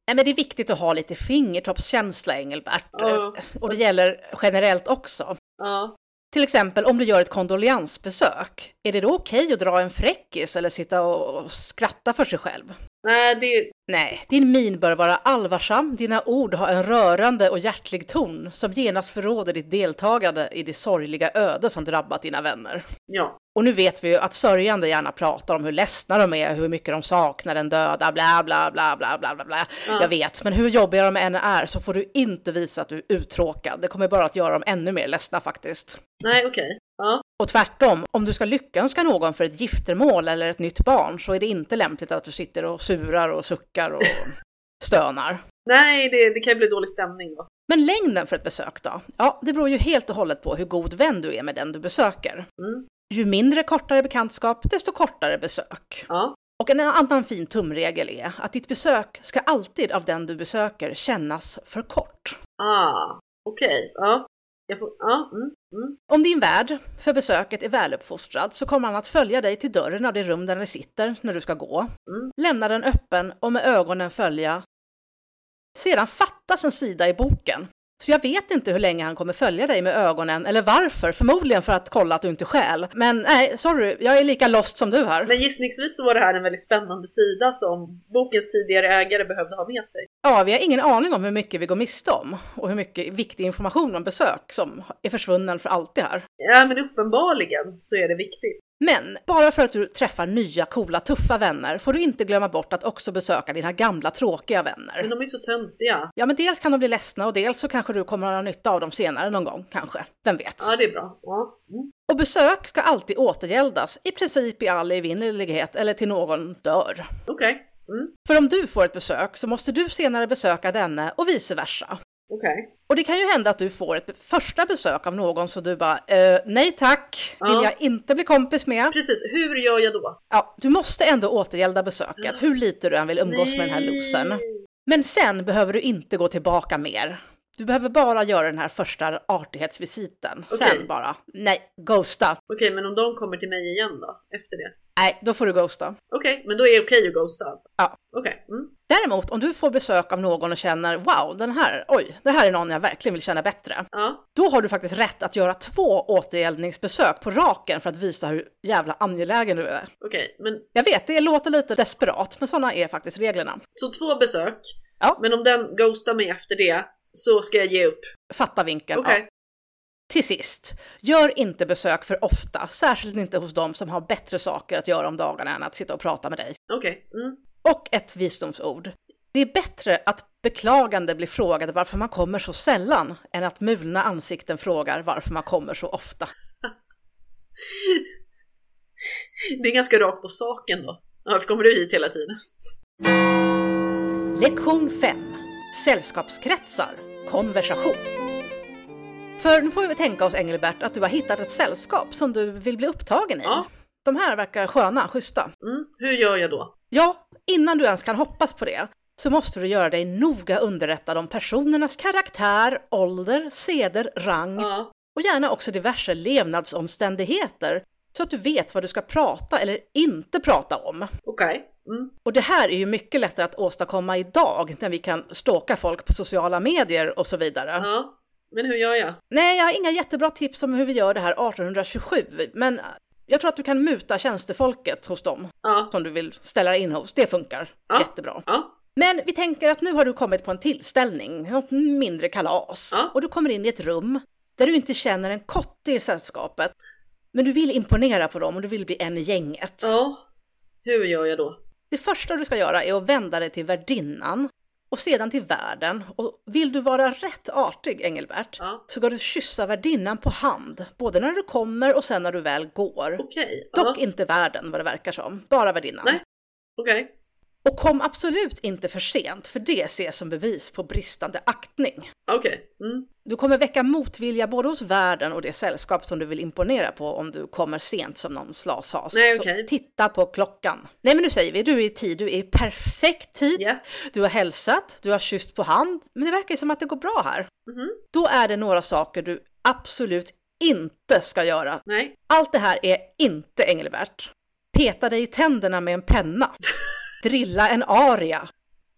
Speaker 2: Nej, men det är viktigt att ha lite fingertoppskänsla, Engelbert.
Speaker 3: Ja.
Speaker 2: Och det gäller generellt också.
Speaker 3: ja.
Speaker 2: Till exempel om du gör ett kondoleansbesök, är det då okej att dra en fräckis eller sitta och och skratta för sig själv?
Speaker 3: Nej, det,
Speaker 2: Nej, din min bör vara allvarsam, dina ord ha en rörande och hjärtlig ton som genast förråder ditt deltagande i det sorgliga öde som drabbat dina vänner.
Speaker 3: ja.
Speaker 2: Och nu vet vi ju att sörjande gärna pratar om hur ledsna de är, hur mycket de saknar den döda, bla bla bla bla bla bla. bla.
Speaker 3: Ja.
Speaker 2: Jag vet, men hur jobbiga de än är så får du inte visa att du är uttråkad. Det kommer bara att göra dem ännu mer ledsna faktiskt.
Speaker 3: Nej, okej. Ja,
Speaker 2: Och tvärtom, om du ska lyckönska någon för ett giftermål eller ett nytt barn så är det inte lämpligt att du sitter och surar och suckar och stönar.
Speaker 3: nej, det, det kan ju bli dålig stämning då.
Speaker 2: Men längden för ett besök då? Ja, det beror ju helt och hållet på hur god vän du är med den du besöker.
Speaker 3: Mm.
Speaker 2: Ju mindre kortare bekantskap, desto kortare besök.
Speaker 3: Ja,
Speaker 2: Och en annan fin tumregel är att ditt besök ska alltid av den du besöker kännas för kort.
Speaker 3: ah, okej. Ja, jag får, ja, mm, mm.
Speaker 2: Om din värd för besöket är väluppfostrad så kommer han att följa dig till dörren av det rum där ni sitter när du ska gå.
Speaker 3: Mm.
Speaker 2: Lämna den öppen och med ögonen följa. Sedan fattas en sida i boken. Så jag vet inte hur länge han kommer följa dig med ögonen eller varför, förmodligen för att kolla att du inte stjäl. Men nej, sorry, jag är lika lost som du här.
Speaker 3: Men gissningsvis så var det här en väldigt spännande sida som bokens tidigare ägare behövde ha med sig.
Speaker 2: Ja, vi har ingen aning om hur mycket vi går miste om och hur mycket viktig information om besök som är försvunnen för alltid här.
Speaker 3: Ja, men uppenbarligen så är det viktigt.
Speaker 2: Men bara för att du träffar nya coola tuffa vänner får du inte glömma bort att också besöka dina gamla tråkiga
Speaker 3: Men
Speaker 2: vänner.
Speaker 3: de är ju så töntiga.
Speaker 2: Ja, men dels kan de bli ledsna och dels så kanske du kommer att ha nytta av dem senare någon gång, kanske. Vem vet?
Speaker 3: Ja, det är bra. Ja, mm.
Speaker 2: Och besök ska alltid återgäldas, i princip i all evinnerlighet eller till någon dör.
Speaker 3: okej. Mm.
Speaker 2: För om du får ett besök så måste du senare besöka denne och vice versa.
Speaker 3: Okej.
Speaker 2: Och det kan ju hända att du får ett första besök av någon så du bara eh, nej tack, vill
Speaker 3: Ja.
Speaker 2: jag inte bli kompis med.
Speaker 3: Precis, hur gör jag då?
Speaker 2: Ja, du måste ändå återgälda besöket, hur lite du än vill umgås med den här losen. Men sen behöver du inte gå tillbaka mer. Du behöver bara göra den här första artighetsvisiten.
Speaker 3: Okej.
Speaker 2: Sen bara, nej, ghosta.
Speaker 3: Okej, men om de kommer till mig igen då? Efter det?
Speaker 2: Nej, då får du ghosta.
Speaker 3: Okej, men då är det okej att ghosta alltså?
Speaker 2: Ja.
Speaker 3: Okej. Mm.
Speaker 2: Däremot om du får besök av någon och känner wow, den här, oj, det här är någon jag verkligen vill känna bättre.
Speaker 3: Ja.
Speaker 2: Då har du faktiskt rätt att göra två återgäldningsbesök på raken för att visa hur jävla angelägen du är.
Speaker 3: Okej, men
Speaker 2: Jag vet, det låter lite desperat, men sådana är faktiskt reglerna.
Speaker 3: så två besök.
Speaker 2: Ja.
Speaker 3: Men om den ghostar mig efter det så ska jag ge upp.
Speaker 2: Fatta vinkeln.
Speaker 3: Okej.
Speaker 2: Ja. Till sist, gör inte besök för ofta, särskilt inte hos de som har bättre saker att göra om dagarna än att sitta och prata med dig.
Speaker 3: Okej. Mm.
Speaker 2: Och ett visdomsord. Det är bättre att beklagande blir frågade varför man kommer så sällan än att mulna ansikten frågar varför man kommer så ofta.
Speaker 3: Det är ganska rakt på saken då. Ja, Varför kommer du hit hela tiden?
Speaker 2: Lektion 5. Sällskapskretsar. Konversation. För nu får vi tänka oss Engelbert att du har hittat ett sällskap som du vill bli upptagen i.
Speaker 3: Ja.
Speaker 2: De här verkar sköna, schyssta.
Speaker 3: Mm. Hur gör jag då?
Speaker 2: Ja, innan du ens kan hoppas på det så måste du göra dig noga underrättad om personernas karaktär, ålder, seder, rang
Speaker 3: Ja.
Speaker 2: och gärna också diverse levnadsomständigheter så att du vet vad du ska prata eller inte prata om.
Speaker 3: Okej. Mm.
Speaker 2: Och det här är ju mycket lättare att åstadkomma idag när vi kan stalka folk på sociala medier och så vidare.
Speaker 3: Ja. Men hur gör jag?
Speaker 2: Nej, jag har inga jättebra tips om hur vi gör det här 1827, men jag tror att du kan muta tjänstefolket hos dem
Speaker 3: Ja.
Speaker 2: som du vill ställa dig in hos. Det funkar
Speaker 3: Ja.
Speaker 2: jättebra.
Speaker 3: Ja.
Speaker 2: Men vi tänker att nu har du kommit på en tillställning, något mindre kalas,
Speaker 3: Ja.
Speaker 2: och du kommer in i ett rum där du inte känner en kotte i sällskapet. Men du vill imponera på dem och du vill bli en i gänget.
Speaker 3: Ja. Hur gör jag då?
Speaker 2: Det första du ska göra är att vända dig till värdinnan och sedan till värden. Och vill du vara rätt artig, Engelbert,
Speaker 3: Ja.
Speaker 2: så ska du kyssa värdinnan på hand, både när du kommer och sen när du väl går.
Speaker 3: Okej.
Speaker 2: Dock
Speaker 3: Ja.
Speaker 2: inte värden, vad det verkar som, bara värdinnan.
Speaker 3: Nej. Okej.
Speaker 2: Och kom absolut inte för sent, för det ses som bevis på bristande aktning.
Speaker 3: Okej. Mm.
Speaker 2: Du kommer väcka motvilja både hos värden och det sällskap som du vill imponera på om du kommer sent som någon slashas.
Speaker 3: Nej,
Speaker 2: Så
Speaker 3: okej.
Speaker 2: titta på klockan. Nej men nu säger vi, du är i tid, du är i perfekt tid.
Speaker 3: Yes.
Speaker 2: Du har hälsat, du har kysst på hand, men det verkar ju som att det går bra här.
Speaker 3: Mhm.
Speaker 2: Då är det några saker du absolut inte ska göra.
Speaker 3: Nej.
Speaker 2: Allt det här är inte Engelbert. Peta dig i tänderna med en penna. Drilla en aria.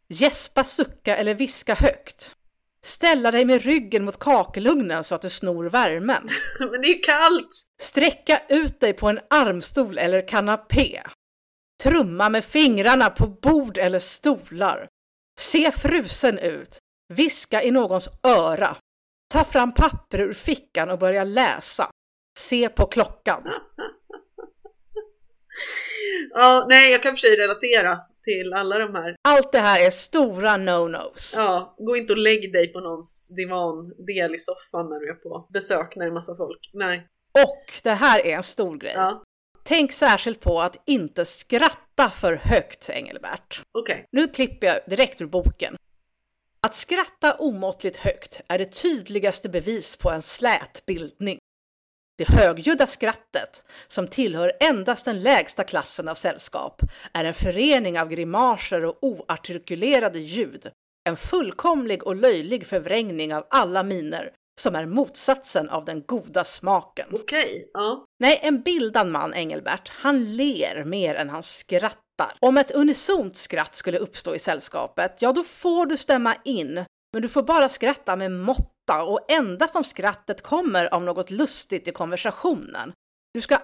Speaker 2: Gäspa, sucka eller viska högt. Ställa dig med ryggen mot kakelugnen så att du snor värmen.
Speaker 3: Men det är ju kallt!
Speaker 2: Sträcka ut dig på en armstol eller kanapé. Trumma med fingrarna på bord eller stolar. Se frusen ut. Viska i någons öra. Ta fram papper ur fickan och börja läsa. Se på klockan.
Speaker 3: Ja, nej, jag kan för sig relatera till alla de här.
Speaker 2: Allt det här är stora no-nos.
Speaker 3: Ja, gå inte och lägg dig på någons divan, del i soffan när du är på besök när det är massa folk. Nej.
Speaker 2: Och det här är en stor grej.
Speaker 3: Ja,
Speaker 2: Tänk särskilt på att inte skratta för högt, Engelbert.
Speaker 3: okej.
Speaker 2: Nu klipper jag direkt ur boken. Att skratta omåttligt högt är det tydligaste bevis på en slät bildning. Det högljudda skrattet, som tillhör endast den lägsta klassen av sällskap, är en förening av grimaser och oartikulerade ljud, en fullkomlig och löjlig förvrängning av alla miner, som är motsatsen av den goda smaken.
Speaker 3: Okej, ja.
Speaker 2: Nej, en bildad man, Engelbert, han ler mer än han skrattar. Om ett unisont skratt skulle uppstå i sällskapet, ja då får du stämma in, men du får bara skratta med måtta och endast om skrattet kommer av något lustigt i konversationen. Du ska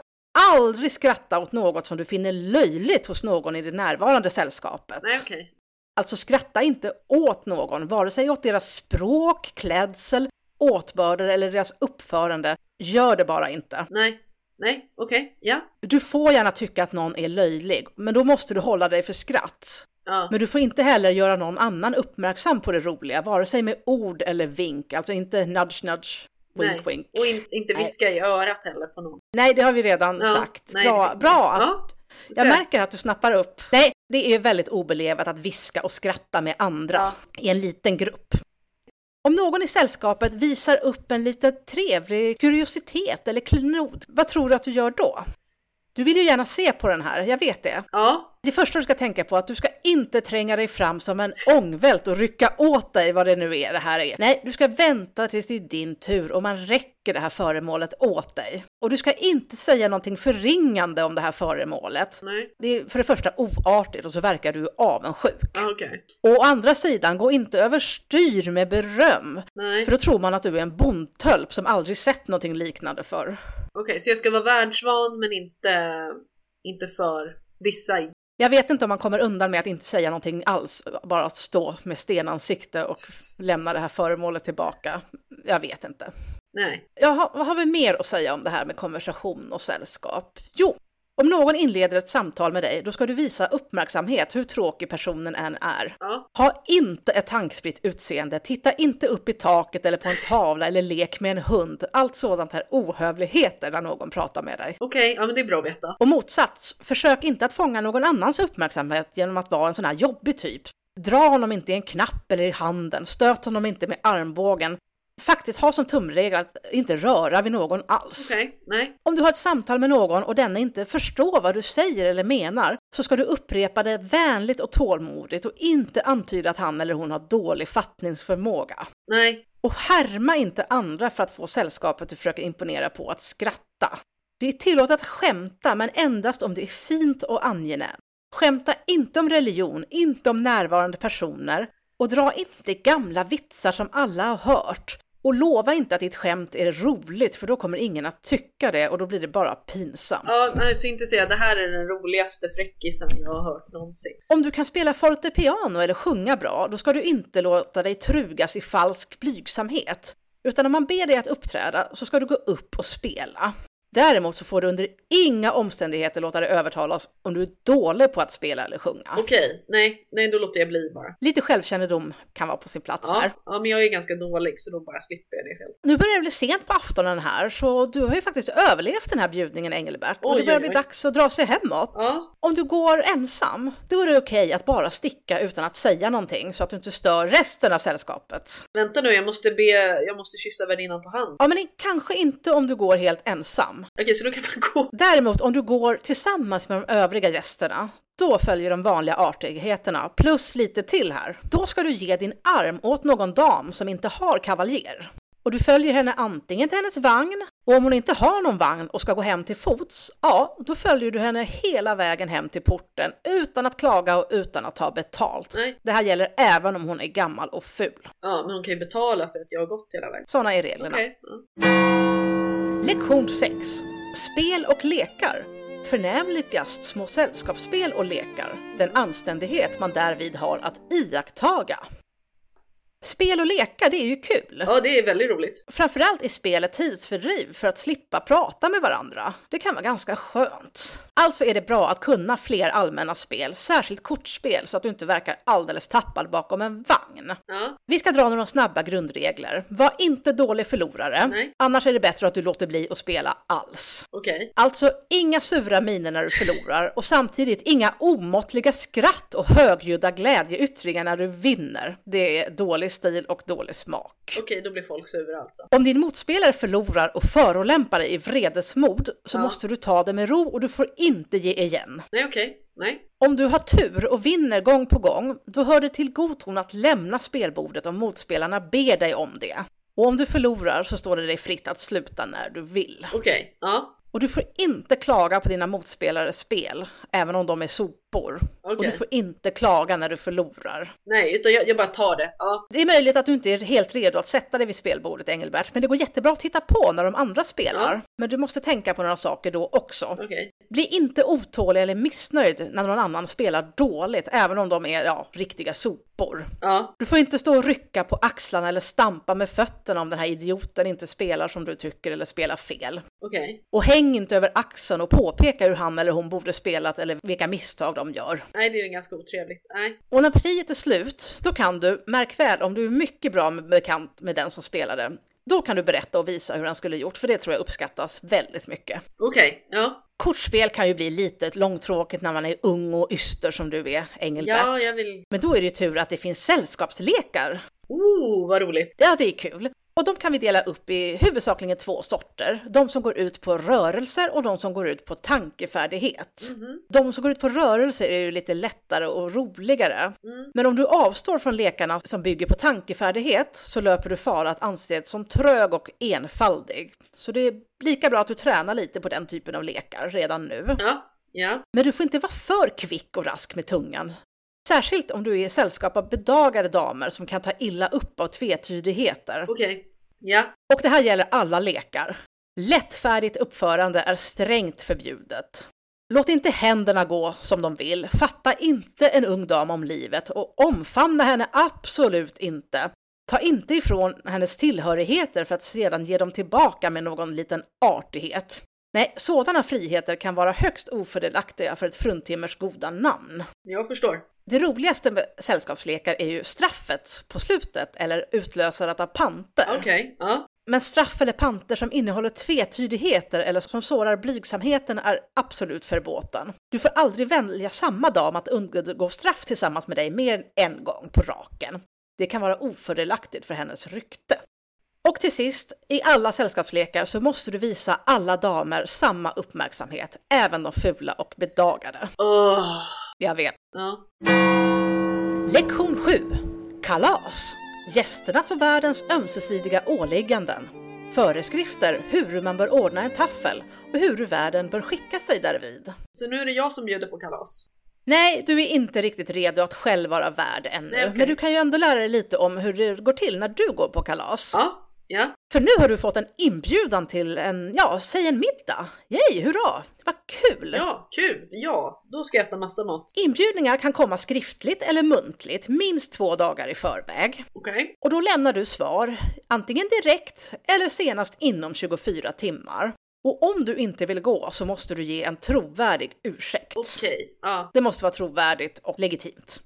Speaker 2: aldrig skratta åt något som du finner löjligt hos någon i det närvarande sällskapet.
Speaker 3: Nej, okej.
Speaker 2: Alltså skratta inte åt någon, vare sig åt deras språk, klädsel, åtbörder eller deras uppförande. Gör det bara inte.
Speaker 3: Nej, nej, okej, ja.
Speaker 2: Du får gärna tycka att någon är löjlig, men då måste du hålla dig för skratt.
Speaker 3: Ja,
Speaker 2: Men du får inte heller göra någon annan uppmärksam på det roliga, vare sig med ord eller vink, alltså inte nudge nudge, wink
Speaker 3: nej.
Speaker 2: wink.
Speaker 3: Och in, inte
Speaker 2: Nej.
Speaker 3: viska i örat heller på någon.
Speaker 2: Nej, det har vi redan
Speaker 3: Ja,
Speaker 2: sagt.
Speaker 3: nej,
Speaker 2: bra,
Speaker 3: det-
Speaker 2: bra. att-
Speaker 3: Ja,
Speaker 2: Jag
Speaker 3: så-
Speaker 2: märker att du snappar upp. Nej, det är väldigt obelevat att viska och skratta med andra
Speaker 3: Ja.
Speaker 2: i en liten grupp. Om någon i sällskapet visar upp en liten trevlig kuriositet eller klenod, vad tror du att du gör då? Du vill ju gärna se på den här, jag vet det.
Speaker 3: Ja,
Speaker 2: Det första du ska tänka på är att du ska inte tränga dig fram som en ångvält och rycka åt dig vad det nu är det här är. Nej, du ska vänta tills det är din tur och man räcker det här föremålet åt dig. Och du ska inte säga någonting förringande om det här föremålet.
Speaker 3: nej.
Speaker 2: Det är för det första oartigt och så verkar du ju avundsjuk.
Speaker 3: Ja, okej.
Speaker 2: Och å andra sidan, gå inte överstyr med beröm,
Speaker 3: Nej.
Speaker 2: för då tror man att du är en bondtölp som aldrig sett någonting liknande förr.
Speaker 3: Okej, så jag ska vara världsvan men inte, inte för dissa i.
Speaker 2: Jag vet inte om man kommer undan med att inte säga någonting alls, bara att stå med stenansikte och lämna det här föremålet tillbaka. Jag vet inte.
Speaker 3: Nej.
Speaker 2: Jaha, vad har vi mer att säga om det här med konversation och sällskap? Jo, om någon inleder ett samtal med dig, då ska du visa uppmärksamhet hur tråkig personen än är.
Speaker 3: Ja,
Speaker 2: Ha inte ett tankspritt utseende, titta inte upp i taket eller på en tavla eller lek med en hund. Allt sådant är ohövligheter när någon pratar med dig.
Speaker 3: okej. Ja, men det är bra att veta.
Speaker 2: Och motsats, försök inte att fånga någon annans uppmärksamhet genom att vara en sån här jobbig typ. Dra honom inte i en knapp eller i handen, stöt honom inte med armbågen. faktiskt ha som tumregel att inte röra vid någon alls.
Speaker 3: Okej, nej.
Speaker 2: Om du har ett samtal med någon och den inte förstår vad du säger eller menar så ska du upprepa det vänligt och tålmodigt och inte antyda att han eller hon har dålig fattningsförmåga.
Speaker 3: Nej.
Speaker 2: Och härma inte andra för att få sällskapet du försöker imponera på att skratta. Det är tillåtet att skämta, men endast om det är fint och angenämt. Skämta inte om religion, inte om närvarande personer och dra inte gamla vitsar som alla har hört. Och lova inte att ditt skämt är roligt för då kommer ingen att tycka det och då blir det bara pinsamt.
Speaker 3: Ja, nej, så inte säga det här är den roligaste fräckisen jag har hört någonsin.
Speaker 2: Om du kan spela fortepiano eller sjunga bra, då ska du inte låta dig trugas i falsk blygsamhet. Utan om man ber dig att uppträda så ska du gå upp och spela. Däremot så får du under inga omständigheter låta dig övertalas om du är dålig på att spela eller sjunga.
Speaker 3: Okej, nej, nej då låter jag bli bara.
Speaker 2: Lite självkännedom kan vara på sin plats här.
Speaker 3: Ja, ja, men jag är ganska dålig så då bara slipper jag det helt.
Speaker 2: Nu börjar det bli sent på aftonen här, så du har ju faktiskt överlevt den här bjudningen Engelbert. och
Speaker 3: Oj,
Speaker 2: det börjar
Speaker 3: oj,
Speaker 2: bli
Speaker 3: oj.
Speaker 2: dags att dra sig hemåt.
Speaker 3: Ja,
Speaker 2: Om du går ensam, då är det okej att bara sticka utan att säga någonting så att du inte stör resten av sällskapet.
Speaker 3: vänta nu, jag måste be, jag måste kyssa värdinnan på hand.
Speaker 2: Ja, men i- kanske inte om du går helt ensam.
Speaker 3: Okej, så då kan man gå.
Speaker 2: Däremot om du går tillsammans med de övriga gästerna, då följer de vanliga artigheterna plus lite till här. Då ska du ge din arm åt någon dam som inte har kavaljer. Och du följer henne antingen till hennes vagn och om hon inte har någon vagn och ska gå hem till fots, ja, då följer du henne hela vägen hem till porten utan att klaga och utan att ta betalt.
Speaker 3: Nej.
Speaker 2: Det här gäller även om hon är gammal och ful.
Speaker 3: Ja, men hon kan ju betala för att jag har gått hela vägen.
Speaker 2: Sådana är reglerna.
Speaker 3: Okej. ja.
Speaker 2: Lektion 6. Spel och lekar. Förnämligast små sällskapsspel och lekar. Den anständighet man därvid har att iakttaga. Spel och lekar, det är ju kul.
Speaker 3: ja, det är väldigt roligt.
Speaker 2: Framförallt är spelet tidsfördriv för att slippa prata med varandra. Det kan vara ganska skönt. Alltså är det bra att kunna fler allmänna spel, särskilt kortspel, så att du inte verkar alldeles tappad bakom en vagn.
Speaker 3: Ja,
Speaker 2: Vi ska dra några snabba grundregler. Var inte dålig förlorare,
Speaker 3: Nej.
Speaker 2: annars är det bättre att du låter bli att spela alls.
Speaker 3: okej.
Speaker 2: Alltså inga sura miner när du förlorar och samtidigt inga omåttliga skratt och högljudda glädjeyttringar när du vinner. Det är dålig stil och dålig smak.
Speaker 3: Okej, då blir folk sura alltså.
Speaker 2: Om din motspelare förlorar och förolämpar dig i vredesmod så
Speaker 3: Ja.
Speaker 2: måste du ta det med ro och du får inte ge igen.
Speaker 3: Nej, okej. Nej.
Speaker 2: Om du har tur och vinner gång på gång, då hör det till god ton att lämna spelbordet om motspelarna ber dig om det. Och om du förlorar så står det dig fritt att sluta när du vill.
Speaker 3: Okej. Ja,
Speaker 2: Och du får inte klaga på dina motspelares spel, även om de är sopor. Och
Speaker 3: Okej.
Speaker 2: du får inte klaga när du förlorar.
Speaker 3: nej, utan jag, jag bara tar det. Ja,
Speaker 2: Det är möjligt att du inte är helt redo att sätta dig vid spelbordet, Engelbert, men det går jättebra att titta på när de andra spelar.
Speaker 3: Ja.
Speaker 2: Men du måste tänka på några saker då också.
Speaker 3: okej.
Speaker 2: Bli inte otålig eller missnöjd när någon annan spelar dåligt, även om de är ja, riktiga sopor.
Speaker 3: Ja,
Speaker 2: Du får inte stå och rycka på axlarna eller stampa med fötterna om den här idioten inte spelar som du tycker eller spelar fel.
Speaker 3: okej.
Speaker 2: Och häng inte över axeln och påpeka hur han eller hon borde spelat eller vilka misstag de gör.
Speaker 3: Nej, det är ganska otrevligt. Nej.
Speaker 2: Och när priet är slut, då kan du, märk väl om du är mycket bra med, bekant med den som spelade, då kan du berätta och visa hur han skulle gjort, för det tror jag uppskattas väldigt mycket.
Speaker 3: Okej, ja.
Speaker 2: Kortspel kan ju bli lite långtråkigt när man är ung och yster som du är, Engelbert.
Speaker 3: Ja, jag vill...
Speaker 2: Men då är det ju tur att det finns sällskapslekar.
Speaker 3: Oh, vad roligt.
Speaker 2: Ja, det är kul. Och de kan vi dela upp i huvudsakligen två sorter. De som går ut på rörelser och de som går ut på tankefärdighet.
Speaker 3: Mhm.
Speaker 2: De som går ut på rörelser är ju lite lättare och roligare.
Speaker 3: Mm.
Speaker 2: Men om du avstår från lekarna som bygger på tankefärdighet så löper du fara att anses som trög och enfaldig. Så det är lika bra att du tränar lite på den typen av lekar redan nu.
Speaker 3: Ja, ja.
Speaker 2: Men du får inte vara för kvick och rask med tungan. Särskilt om du är i sällskap av bedagade damer som kan ta illa upp av tvetydigheter.
Speaker 3: Okej. Ja,
Speaker 2: Och det här gäller alla lekar. Lättfärdigt uppförande är strängt förbjudet. Låt inte händerna gå som de vill, fatta inte en ung dam om livet och omfamna henne absolut inte. Ta inte ifrån hennes tillhörigheter för att sedan ge dem tillbaka med någon liten artighet. Nej, sådana friheter kan vara högst ofördelaktiga för ett fruntimmers goda namn.
Speaker 3: jag förstår.
Speaker 2: Det roligaste med sällskapslekar är ju straffet på slutet eller utlösandet av panter.
Speaker 3: Okej, ja.
Speaker 2: Men straff eller panter som innehåller tvetydigheter eller som sårar blygsamheten är absolut förbåten. Du får aldrig välja samma dam att undgå straff tillsammans med dig mer än en gång på raken. Det kan vara ofördelaktigt för hennes rykte. Och till sist, i alla sällskapslekar så måste du visa alla damer samma uppmärksamhet, även de fula och bedagade.
Speaker 3: Åh.
Speaker 2: Jag vet.
Speaker 3: Ja.
Speaker 2: Lektion 7. Kalas. Gästernas och värdens ömsesidiga åligganden. Föreskrifter hur man bör ordna en taffel och hur värden bör skicka sig därvid.
Speaker 3: Så nu är det jag som bjuder på kalas.
Speaker 2: Nej, du är inte riktigt redo att själv vara värd ännu,
Speaker 3: Nej, okej.
Speaker 2: men du kan ju ändå lära dig lite om hur det går till när du går på kalas.
Speaker 3: Ja, ja.
Speaker 2: För nu har du fått en inbjudan till en, ja, säg en middag. Yay, hurra! Vad kul!
Speaker 3: Ja, kul! Ja, då ska jag äta massa mat.
Speaker 2: Inbjudningar kan komma skriftligt eller muntligt, minst två dagar i förväg.
Speaker 3: Okej.
Speaker 2: Och då lämnar du svar, antingen direkt eller senast inom 24 timmar. Och om du inte vill gå så måste du ge en trovärdig ursäkt.
Speaker 3: Okej. Mm. Ja.
Speaker 2: Det måste vara trovärdigt och legitimt.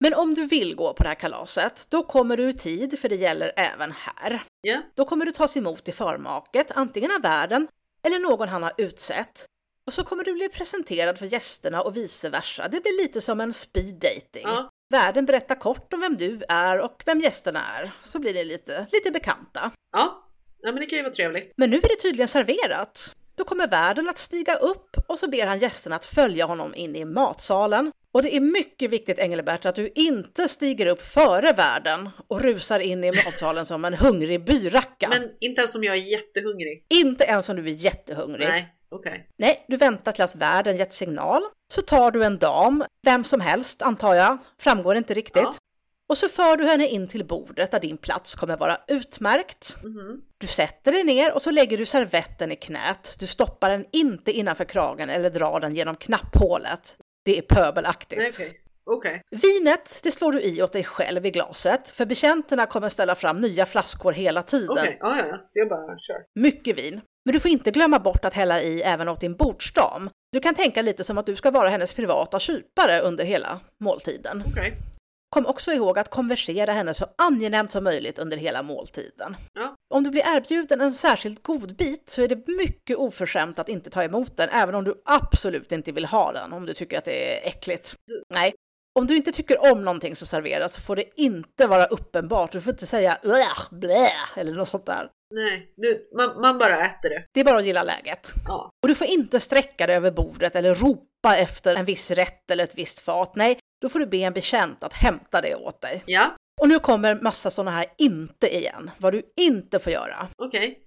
Speaker 2: Men om du vill gå på det här kalaset, då kommer du i tid, för det gäller även här.
Speaker 3: Ja.
Speaker 2: Då kommer du tas emot i förmaket, antingen av värden eller någon han har utsett. Och så kommer du bli presenterad för gästerna och vice versa. Det blir lite som en speed dating.
Speaker 3: Ja.
Speaker 2: Värden berättar kort om vem du är och vem gästerna är, så blir ni lite, lite bekanta.
Speaker 3: Ja. Ja, men det kan ju vara trevligt.
Speaker 2: Men nu är det tydligen serverat. Då kommer värden att stiga upp och så ber han gästerna att följa honom in i matsalen. Och det är mycket viktigt Engelbert att du inte stiger upp före värden och rusar in i matsalen som en hungrig byracka.
Speaker 3: Men inte ens om jag är jättehungrig.
Speaker 2: Inte ens om du är jättehungrig.
Speaker 3: Nej, okej.
Speaker 2: Nej, du väntar tills att värden gett signal. Så tar du en dam, vem som helst antar jag, framgår inte riktigt.
Speaker 3: Ja.
Speaker 2: Och så för du henne in till bordet där din plats kommer vara utmärkt.
Speaker 3: Mhm.
Speaker 2: Du sätter dig ner och så lägger du servetten i knät. Du stoppar den inte innanför kragen eller drar den genom knapphålet. Det är pöbelaktigt.
Speaker 3: Nej, okej. Okej.
Speaker 2: Vinet, det slår du i åt dig själv i glaset, för betjänterna kommer ställa fram nya flaskor hela tiden.
Speaker 3: Okej. Ja, ja, ja. Så jag bara kör.
Speaker 2: Mycket vin. Men du får inte glömma bort att hälla i även åt din bordsdam. Du kan tänka lite som att du ska vara hennes privata kypare under hela måltiden.
Speaker 3: Okej.
Speaker 2: Kom också ihåg att konversera henne så angenämt som möjligt under hela måltiden.
Speaker 3: Ja.
Speaker 2: Om du blir erbjuden en särskilt god bit så är det mycket oförskämt att inte ta emot den, även om du absolut inte vill ha den, om du tycker att det är äckligt. Nej. Om du inte tycker om någonting som serveras så får det inte vara uppenbart. Du får inte säga "Uah, blä eller något sånt där.
Speaker 3: Nej, du, man, man bara äter det.
Speaker 2: Det är bara att gilla läget.
Speaker 3: Ja.
Speaker 2: Och du får inte sträcka dig över bordet eller ropa efter en viss rätt eller ett visst fat. Nej, då får du be en betjänt att hämta det åt dig.
Speaker 3: Ja,
Speaker 2: Och nu kommer massa sådana här inte igen. Vad du inte får göra.
Speaker 3: okej.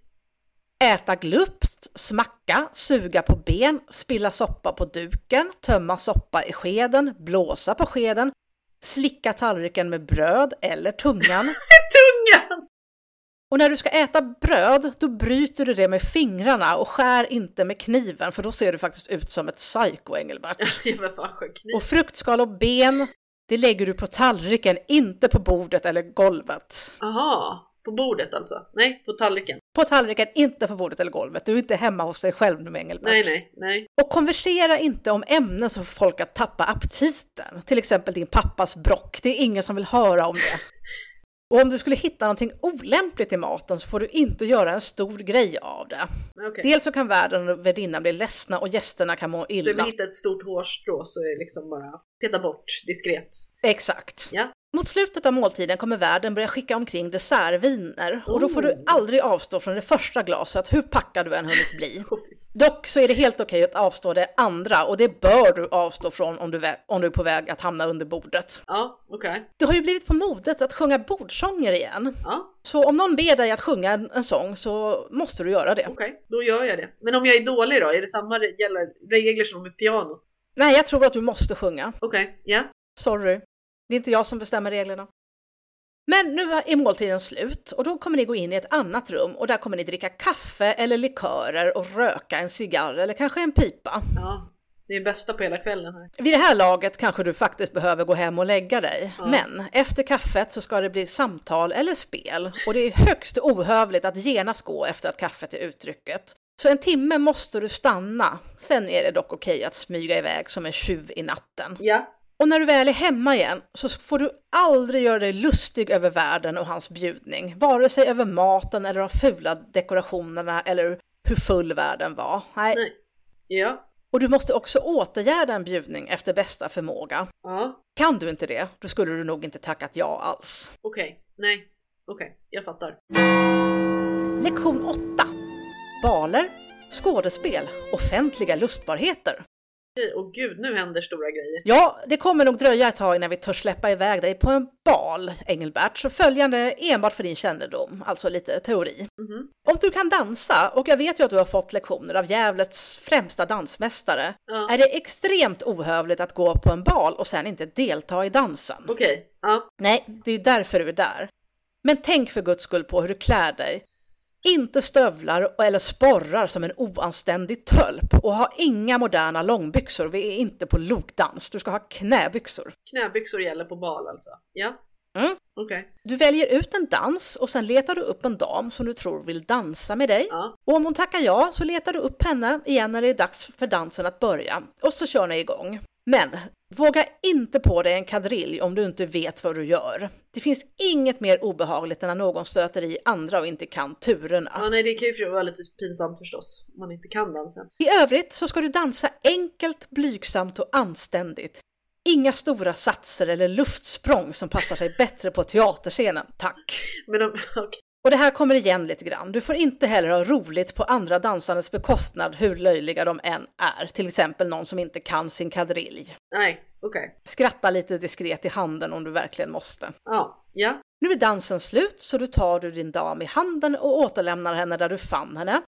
Speaker 2: Äta glupskt, smacka, suga på ben, spilla soppa på duken, tömma soppa i skeden, blåsa på skeden, slicka tallriken med bröd eller tungan.
Speaker 3: Tungan!
Speaker 2: Och när du ska äta bröd, då bryter du det med fingrarna och skär inte med kniven, för då ser du faktiskt ut som ett psycho, Engelbert.
Speaker 3: Jag var fan sjuk. Ni-
Speaker 2: Och fruktskal och ben, det lägger du på tallriken, inte på bordet eller golvet.
Speaker 3: Aha, på bordet alltså? Nej, på tallriken.
Speaker 2: På tallriken, inte på bordet eller golvet. Du är inte hemma hos dig själv nu med Engelbert.
Speaker 3: Nej, nej, nej.
Speaker 2: Och konversera inte om ämnen som får folk att tappa aptiten. Till exempel din pappas brock. Det är ingen som vill höra om det. Och om du skulle hitta någonting olämpligt i maten så får du inte göra en stor grej av det.
Speaker 3: Men okej.
Speaker 2: Dels så kan värden och värdinnan bli ledsna och gästerna kan må
Speaker 3: Så om
Speaker 2: illa.
Speaker 3: jag hittar ett stort hårstrå så är det liksom bara peta bort diskret.
Speaker 2: Exakt.
Speaker 3: Ja.
Speaker 2: Mot slutet av måltiden kommer värden börja skicka omkring dessertviner och då får
Speaker 3: Oh.
Speaker 2: du aldrig avstå från det första glaset hur packad du än hunnit bli.
Speaker 3: Åh, fy
Speaker 2: Dock så är det helt okej att avstå det andra och det bör du avstå från om du, vä- om du är på väg att hamna under bordet.
Speaker 3: Ja, okej.
Speaker 2: Det har ju blivit på modet att sjunga bordsånger igen.
Speaker 3: Ja,
Speaker 2: Så om någon ber dig att sjunga en, en sång så måste du göra det.
Speaker 3: okej. Då gör jag det. Men om jag är dålig då? Är det samma re- gäller regler som med pianot?
Speaker 2: Nej, jag tror att du måste sjunga.
Speaker 3: Okej, ja.
Speaker 2: Sorry. Det är inte jag som bestämmer reglerna. Men nu är måltiden slut och då kommer ni gå in i ett annat rum och där kommer ni dricka kaffe eller likörer och röka en cigarr eller kanske en pipa.
Speaker 3: Ja. Det är det bästa på hela kvällen här.
Speaker 2: Vid det här laget kanske du faktiskt behöver gå hem och lägga dig.
Speaker 3: Ja.
Speaker 2: Men efter kaffet så ska det bli samtal eller spel och det är högst ohövligt att genast gå efter att kaffet är utdrucket. Så en timme måste du stanna. Sen är det dock okej att smyga iväg som en tjuv i natten.
Speaker 3: Ja.
Speaker 2: Och när du väl är hemma igen så får du aldrig göra dig lustig över världen och hans bjudning. Vare sig över maten eller de fula dekorationerna eller hur full världen var. Nej.
Speaker 3: Nej. Ja.
Speaker 2: Och du måste också återgärda en bjudning efter bästa förmåga.
Speaker 3: Ja.
Speaker 2: Kan du inte det, då skulle du nog inte tackat ja alls.
Speaker 3: Okej. Nej. Okej, jag fattar.
Speaker 2: Lektion 8. Baler, skådespel, offentliga lustbarheter.
Speaker 3: Okej, och gud nu händer stora grejer.
Speaker 2: Ja, det kommer nog dröja ett tag innan vi törs släppa iväg dig på en bal, Engelbert, så följande enbart för din kännedom, alltså lite teori.
Speaker 3: Mhm.
Speaker 2: Om du kan dansa, och jag vet ju att du har fått lektioner av Gävlets främsta dansmästare,
Speaker 3: Ja.
Speaker 2: är det extremt ohövligt att gå på en bal och sen inte delta i dansen.
Speaker 3: Okej, ja.
Speaker 2: Nej, det är ju därför du är där. Men tänk för guds skull på hur du klär dig. Inte stövlar eller sporrar som en oanständig tölp och ha inga moderna långbyxor. Vi är inte på lokdans. Du ska ha knäbyxor.
Speaker 3: Knäbyxor gäller på bal alltså? Ja.
Speaker 2: Mm.
Speaker 3: Okej.
Speaker 2: Du väljer ut en dans och sen letar du upp en dam som du tror vill dansa med dig.
Speaker 3: Ja.
Speaker 2: Och om hon tackar ja så letar du upp henne igen när det är dags för dansen att börja. Och så kör ni igång. Men våga inte på dig en kadrill om du inte vet vad du gör. Det finns inget mer obehagligt än när någon stöter i andra och inte kan turerna.
Speaker 3: Ja, nej det kan ju för- vara lite pinsamt förstås. Om man inte kan dansen.
Speaker 2: I övrigt så ska du dansa enkelt, blygsamt och anständigt. Inga stora satser eller luftsprång som passar sig bättre på teaterscenen, tack.
Speaker 3: Men om, okej.
Speaker 2: Och det här kommer igen lite grann. Du får inte heller ha roligt på andra dansandes bekostnad hur löjliga de än är. Till exempel någon som inte kan sin kadrilj.
Speaker 3: Nej, okej.
Speaker 2: Skratta lite diskret i handen om du verkligen måste.
Speaker 3: Ja, ja.
Speaker 2: Nu är dansen slut så du tar du din dam i handen och återlämnar henne där du fann henne.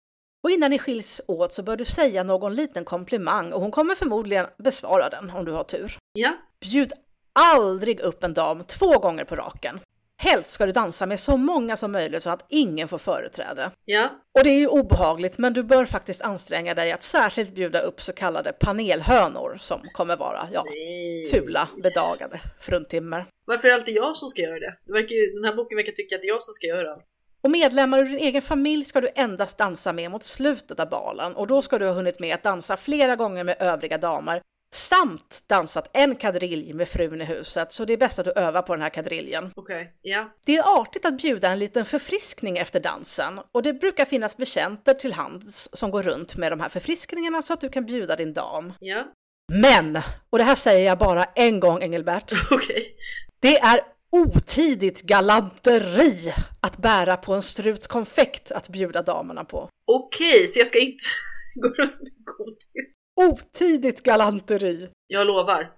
Speaker 2: Och innan ni skiljs åt så bör du säga någon liten komplimang och hon kommer förmodligen besvara den om du har tur.
Speaker 3: Ja,
Speaker 2: Bjud aldrig upp en dam två gånger på raken. Helst ska du dansa med så många som möjligt så att ingen får företräde.
Speaker 3: ja.
Speaker 2: Och det är ju obehagligt, men du bör faktiskt anstränga dig att särskilt bjuda upp så kallade panelhönor som kommer vara, ja,
Speaker 3: Nej.
Speaker 2: fula, bedagade fruntimmer.
Speaker 3: Varför är det alltid jag som ska göra det? det verkar ju, den här boken verkar tycka att det är jag som ska göra allt.
Speaker 2: Och medlemmar ur din egen familj ska du endast dansa med mot slutet av balen och då ska du ha hunnit med att dansa flera gånger med övriga damer samt dansat en kadrilj med frun i huset, så det är bäst att du övar på den här kadriljen.
Speaker 3: Okej, ja.
Speaker 2: Det är artigt att bjuda en liten förfriskning efter dansen och det brukar finnas betjänter till hands som går runt med de här förfriskningarna så att du kan bjuda din dam.
Speaker 3: Ja,
Speaker 2: Men, och det här säger jag bara en gång Engelbert,
Speaker 3: okej.
Speaker 2: det är otidigt galanteri att bära på en strut konfekt att bjuda damerna på.
Speaker 3: Okej, så jag ska inte gå runt med godis.
Speaker 2: Otidigt galanteri!
Speaker 3: Jag lovar.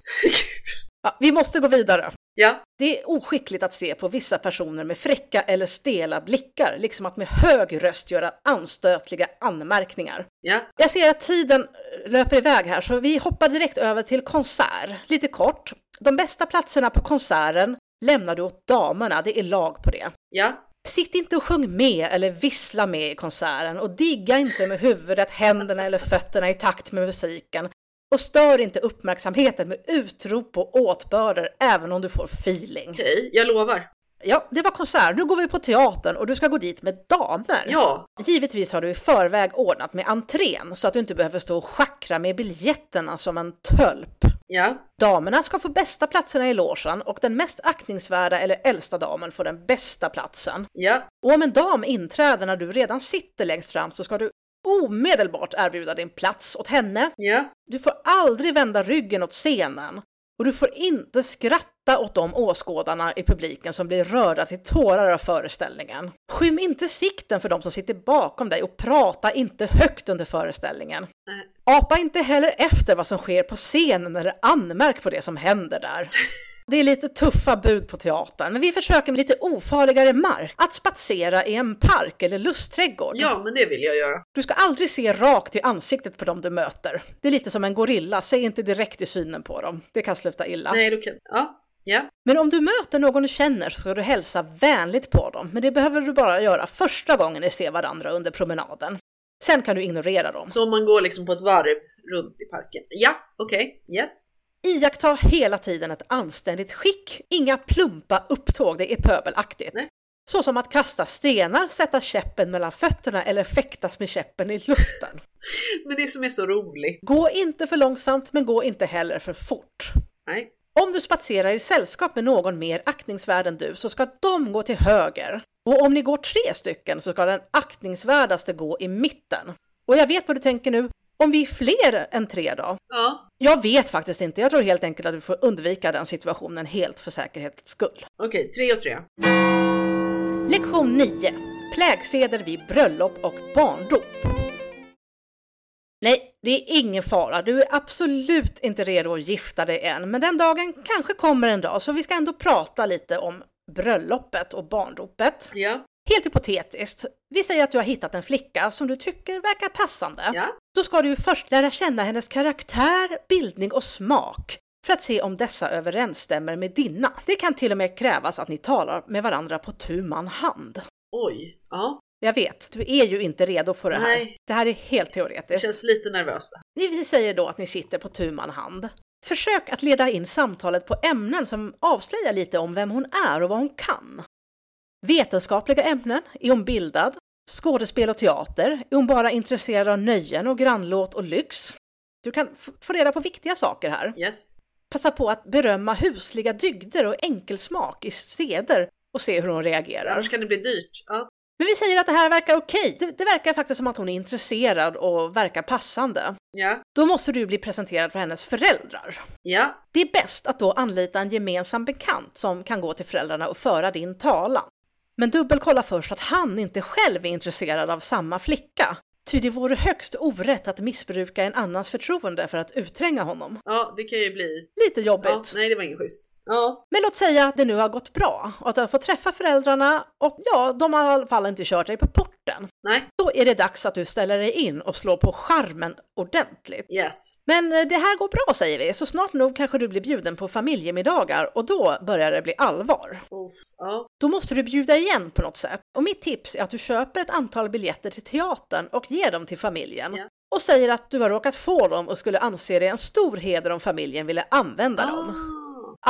Speaker 2: Ja, vi måste gå vidare.
Speaker 3: ja,
Speaker 2: Det är oskickligt att se på vissa personer med fräcka eller stela blickar, liksom att med hög röst göra anstötliga anmärkningar.
Speaker 3: ja.
Speaker 2: Jag ser att tiden löper iväg här så vi hoppar direkt över till konsert. Lite kort. De bästa platserna på konserten lämnar du åt damerna, det är lag på det.
Speaker 3: Ja,
Speaker 2: Sitt inte och sjung med eller vissla med i konserten och digga inte med huvudet, händerna eller fötterna i takt med musiken. Och stör inte uppmärksamheten med utrop och åtbörder även om du får feeling.
Speaker 3: okej. Jag lovar.
Speaker 2: Ja, det var konsert. Nu går vi på teatern och du ska gå dit med damer.
Speaker 3: Ja,
Speaker 2: Givetvis har du i förväg ordnat med entrén så att du inte behöver stå och schackra med biljetterna som en tölp.
Speaker 3: ja.
Speaker 2: Damerna ska få bästa platserna i logen och den mest aktningsvärda eller äldsta damen får den bästa platsen.
Speaker 3: Ja,
Speaker 2: Och om en dam inträder när du redan sitter längst fram så ska du omedelbart erbjuda din plats åt henne.
Speaker 3: ja,
Speaker 2: Du får aldrig vända ryggen åt scenen och du får inte skratta åt de åskådarna i publiken som blir rörda till tårar av föreställningen. Skym inte sikten för de som sitter bakom dig och prata inte högt under föreställningen.
Speaker 3: Nej.
Speaker 2: Apa inte heller efter vad som sker på scenen eller anmärk på det som händer där. Det är lite tuffa bud på teatern, men vi försöker med lite ofarligare mark. Att spatsera i en park eller lustträdgård.
Speaker 3: ja, men det vill jag göra.
Speaker 2: Du ska aldrig se rakt i ansiktet på dem du möter. Det är lite som en gorilla, se inte direkt i synen på dem. Det kan sluta illa.
Speaker 3: Nej, då kan... Ja, ja,
Speaker 2: Men om du möter någon du känner så ska du hälsa vänligt på dem, men det behöver du bara göra första gången ni ser varandra under promenaden. Sen kan du ignorera dem.
Speaker 3: så om man går liksom på ett varv runt i parken. Ja, okej. Yes.
Speaker 2: Iaktta hela tiden ett anständigt skick, inga plumpa upptåg, det är pöbelaktigt.
Speaker 3: Nej.
Speaker 2: Så som att kasta stenar, sätta käppen mellan fötterna eller fäktas med käppen i luften.
Speaker 3: Men det som är så roligt.
Speaker 2: Gå inte för långsamt, men gå inte heller för fort.
Speaker 3: Nej.
Speaker 2: Om du spatserar i sällskap med någon mer aktningsvärd än du så ska de gå till höger. Och om ni går tre stycken så ska den aktningsvärdaste gå i mitten. Och jag vet vad du tänker nu, om vi är fler än tre då?
Speaker 3: Ja,
Speaker 2: Jag vet faktiskt inte, jag tror helt enkelt att du får undvika den situationen helt för säkerhets skull.
Speaker 3: okej. Tre och tre.
Speaker 2: Lektion 9. Plägseder vid bröllop och barndop. Nej, det är ingen fara. Du är absolut inte redo att gifta dig än, men den dagen kanske kommer en dag, så vi ska ändå prata lite om bröllopet och barndopet.
Speaker 3: Ja,
Speaker 2: Helt hypotetiskt, vi säger att du har hittat en flicka som du tycker verkar passande.
Speaker 3: ja,
Speaker 2: Då ska du ju först lära känna hennes karaktär, bildning och smak för att se om dessa överensstämmer med dina. Det kan till och med krävas att ni talar med varandra på tu man hand.
Speaker 3: oj, ja.
Speaker 2: Jag vet, du är ju inte redo för det här.
Speaker 3: Nej.
Speaker 2: Det här är helt
Speaker 3: Det
Speaker 2: teoretiskt.
Speaker 3: känns lite nervöst.
Speaker 2: Ni- Vi säger då att ni sitter på tu man hand. Försök att leda in samtalet på ämnen som avslöjar lite om vem hon är och vad hon kan. Vetenskapliga ämnen? Är hon bildad? Skådespel och teater? Är hon bara intresserad av nöjen och grannlåt och lyx? Du kan f- få reda på viktiga saker här.
Speaker 3: Yes.
Speaker 2: Passa på att berömma husliga dygder och enkelsmak i seder och se hur hon reagerar.
Speaker 3: Annars kan det bli dyrt. Ja.
Speaker 2: Men vi säger att det här verkar okej. Det, det verkar faktiskt som att hon är intresserad och verkar passande.
Speaker 3: Ja.
Speaker 2: Då måste du bli presenterad för hennes föräldrar.
Speaker 3: Ja.
Speaker 2: Det är bäst att då anlita en gemensam bekant som kan gå till föräldrarna och föra din talan. Men dubbelkolla först att han inte själv är intresserad av samma flicka. Ty det vore högst orätt att missbruka en annans förtroende för att uttränga honom.
Speaker 3: ja, det kan ju bli.
Speaker 2: Lite jobbigt.
Speaker 3: Ja, nej, det var inget schysst. Ja,
Speaker 2: Men låt säga att det nu har gått bra och att du har fått träffa föräldrarna och ja, de har i alla fall inte kört dig på porten.
Speaker 3: nej,
Speaker 2: Då är det dags att du ställer dig in och slår på charmen ordentligt.
Speaker 3: yes.
Speaker 2: Men eh, det här går bra säger vi, så snart nog kanske du blir bjuden på familjemiddagar och då börjar det bli allvar.
Speaker 3: Uff, ja,
Speaker 2: Då måste du bjuda igen på något sätt. Och mitt tips är att du köper ett antal biljetter till teatern och ger dem till familjen.
Speaker 3: Ja.
Speaker 2: Och säger att du har råkat få dem och skulle anse det en stor heder om familjen ville använda dem.
Speaker 3: Ah,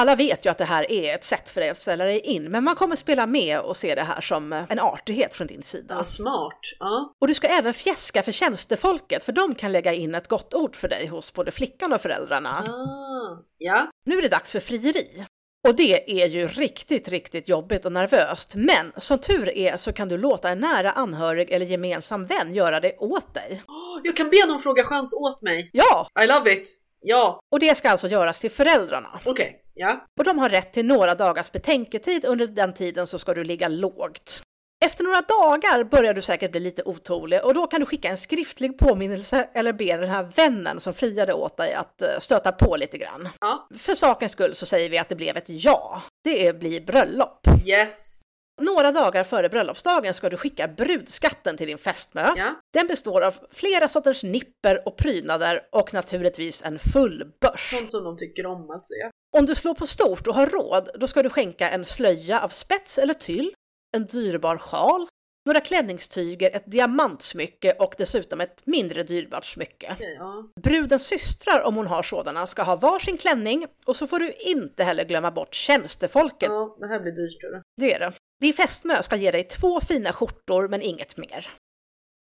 Speaker 2: Alla vet ju att det här är ett sätt för dig att ställa dig in, men man kommer spela med och se det här som eh, en artighet från din sida.
Speaker 3: ja, smart. Ja,
Speaker 2: Och du ska även fjäska för tjänstefolket, för de kan lägga in ett gott ord för dig hos både flickan och föräldrarna.
Speaker 3: ah, ja,
Speaker 2: Nu är det dags för frieri. Och det är ju riktigt, riktigt jobbigt och nervöst. Men som tur är så kan du låta en nära anhörig eller gemensam vän göra det åt dig.
Speaker 3: Åh, jag kan be någon fråga chans åt mig.
Speaker 2: Ja,
Speaker 3: I love it. Ja,
Speaker 2: och det ska alltså göras till föräldrarna.
Speaker 3: okej. Ja,
Speaker 2: Och de har rätt till några dagars betänketid. Under den tiden så ska du ligga lågt. Efter några dagar börjar du säkert bli lite otålig och då kan du skicka en skriftlig påminnelse eller be den här vännen som friade åt dig att eh, stöta på lite grann.
Speaker 3: ja,
Speaker 2: För sakens skull så säger vi att det blev ett ja. Det är- blir bröllop.
Speaker 3: yes.
Speaker 2: Några dagar före bröllopsdagen ska du skicka brudskatten till din fästmö.
Speaker 3: Ja,
Speaker 2: Den består av flera sorters nipper och prydnader och naturligtvis en full börs.
Speaker 3: sånt som de tycker om alltså. Ja,
Speaker 2: Om du slår på stort och har råd, då ska du skänka en slöja av spets eller tyll, en dyrbar sjal, några klänningstyger, ett diamantsmycke och dessutom ett mindre dyrbart smycke.
Speaker 3: okej, ja.
Speaker 2: Brudens systrar, om hon har sådana, ska ha varsin klänning och så får du inte heller glömma bort tjänstefolket
Speaker 3: ja, det här blir dyrt. Då.
Speaker 2: det är det. Din fästmö ska ge dig två fina skjortor men inget mer.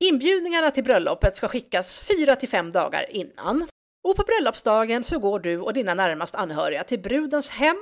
Speaker 2: Inbjudningarna till bröllopet ska skickas fyra till fem dagar innan. Och på bröllopsdagen så går du och dina närmast anhöriga till brudens hem.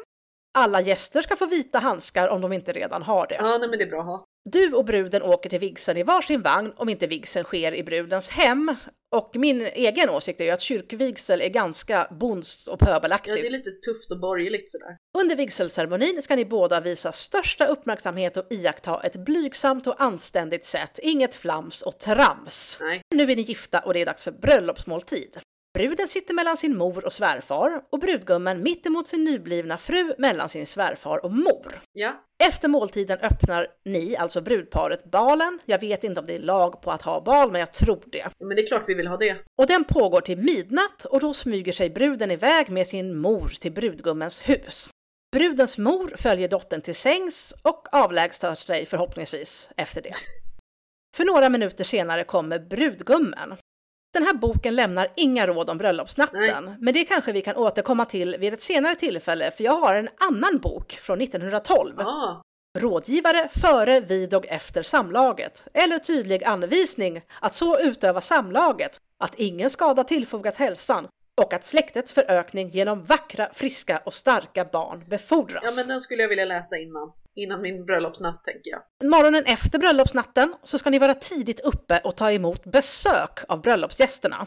Speaker 2: Alla gäster ska få vita handskar om de inte redan har det.
Speaker 3: Ja, nej men det är bra att ha.
Speaker 2: Du och bruden åker till vigseln i varsin vagn om inte vigseln sker i brudens hem. Och min egen åsikt är ju att kyrkvigsel är ganska bonds och
Speaker 3: Ja, det är
Speaker 2: pöbelaktigt.
Speaker 3: lite tufft och borgerligt sådär.
Speaker 2: Under vigselceremonin ska ni båda visa största uppmärksamhet och iaktta ett blygsamt och anständigt sätt, inget flams och trams.
Speaker 3: Nej.
Speaker 2: Nu är ni gifta och det är dags för bröllopsmåltid. Bruden sitter mellan sin mor och svärfar och brudgummen mitt emot sin nyblivna fru mellan sin svärfar och mor.
Speaker 3: Ja,
Speaker 2: Efter måltiden öppnar ni, alltså brudparet, balen. Jag vet inte om det är lag på att ha bal, men jag tror det.
Speaker 3: men det är klart vi vill ha det.
Speaker 2: Och den pågår till midnatt och då smyger sig bruden iväg med sin mor till brudgummens hus. Brudens mor följer dottern till sängs och avlägsnar sig förhoppningsvis efter det. För några minuter senare kommer brudgummen. Den här boken lämnar inga råd om bröllopsnatten, men det kanske vi kan återkomma till vid ett senare tillfälle för jag har en annan bok från 1912.
Speaker 3: Ja,
Speaker 2: Rådgivare före, vid och efter samlaget. Eller tydlig anvisning att så utöva samlaget att ingen skada tillfogat hälsan och att släktets förökning genom vackra, friska och starka barn
Speaker 3: ja
Speaker 2: befordras.
Speaker 3: men den skulle jag vilja läsa innan. Innan min bröllopsnatt tänker jag.
Speaker 2: Morgonen efter bröllopsnatten så ska ni vara tidigt uppe och ta emot besök av bröllopsgästerna.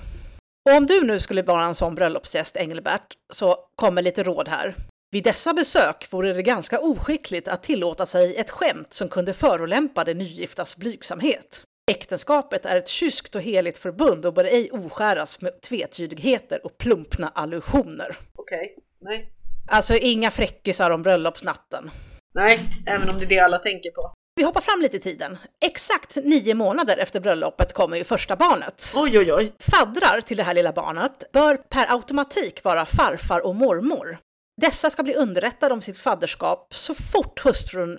Speaker 2: Och om du nu skulle vara en sån bröllopsgäst, Engelbert, så kommer lite råd här. Vid dessa besök vore det ganska oskickligt att tillåta sig ett skämt som kunde förolämpa det nygiftas blygsamhet. Äktenskapet är ett kyskt och heligt förbund och bör ej oskäras med tvetydigheter och plumpna allusioner.
Speaker 3: Okej, nej.
Speaker 2: Alltså inga fräckisar om bröllopsnatten.
Speaker 3: Nej, även om det är det alla tänker på.
Speaker 2: Vi hoppar fram lite i tiden. Exakt nio månader efter bröllopet kommer ju första barnet.
Speaker 3: Oj, oj, oj.
Speaker 2: Faddrar till det här lilla barnet bör per automatik vara farfar och mormor. Dessa ska bli underrättade om sitt fadderskap så fort hustrun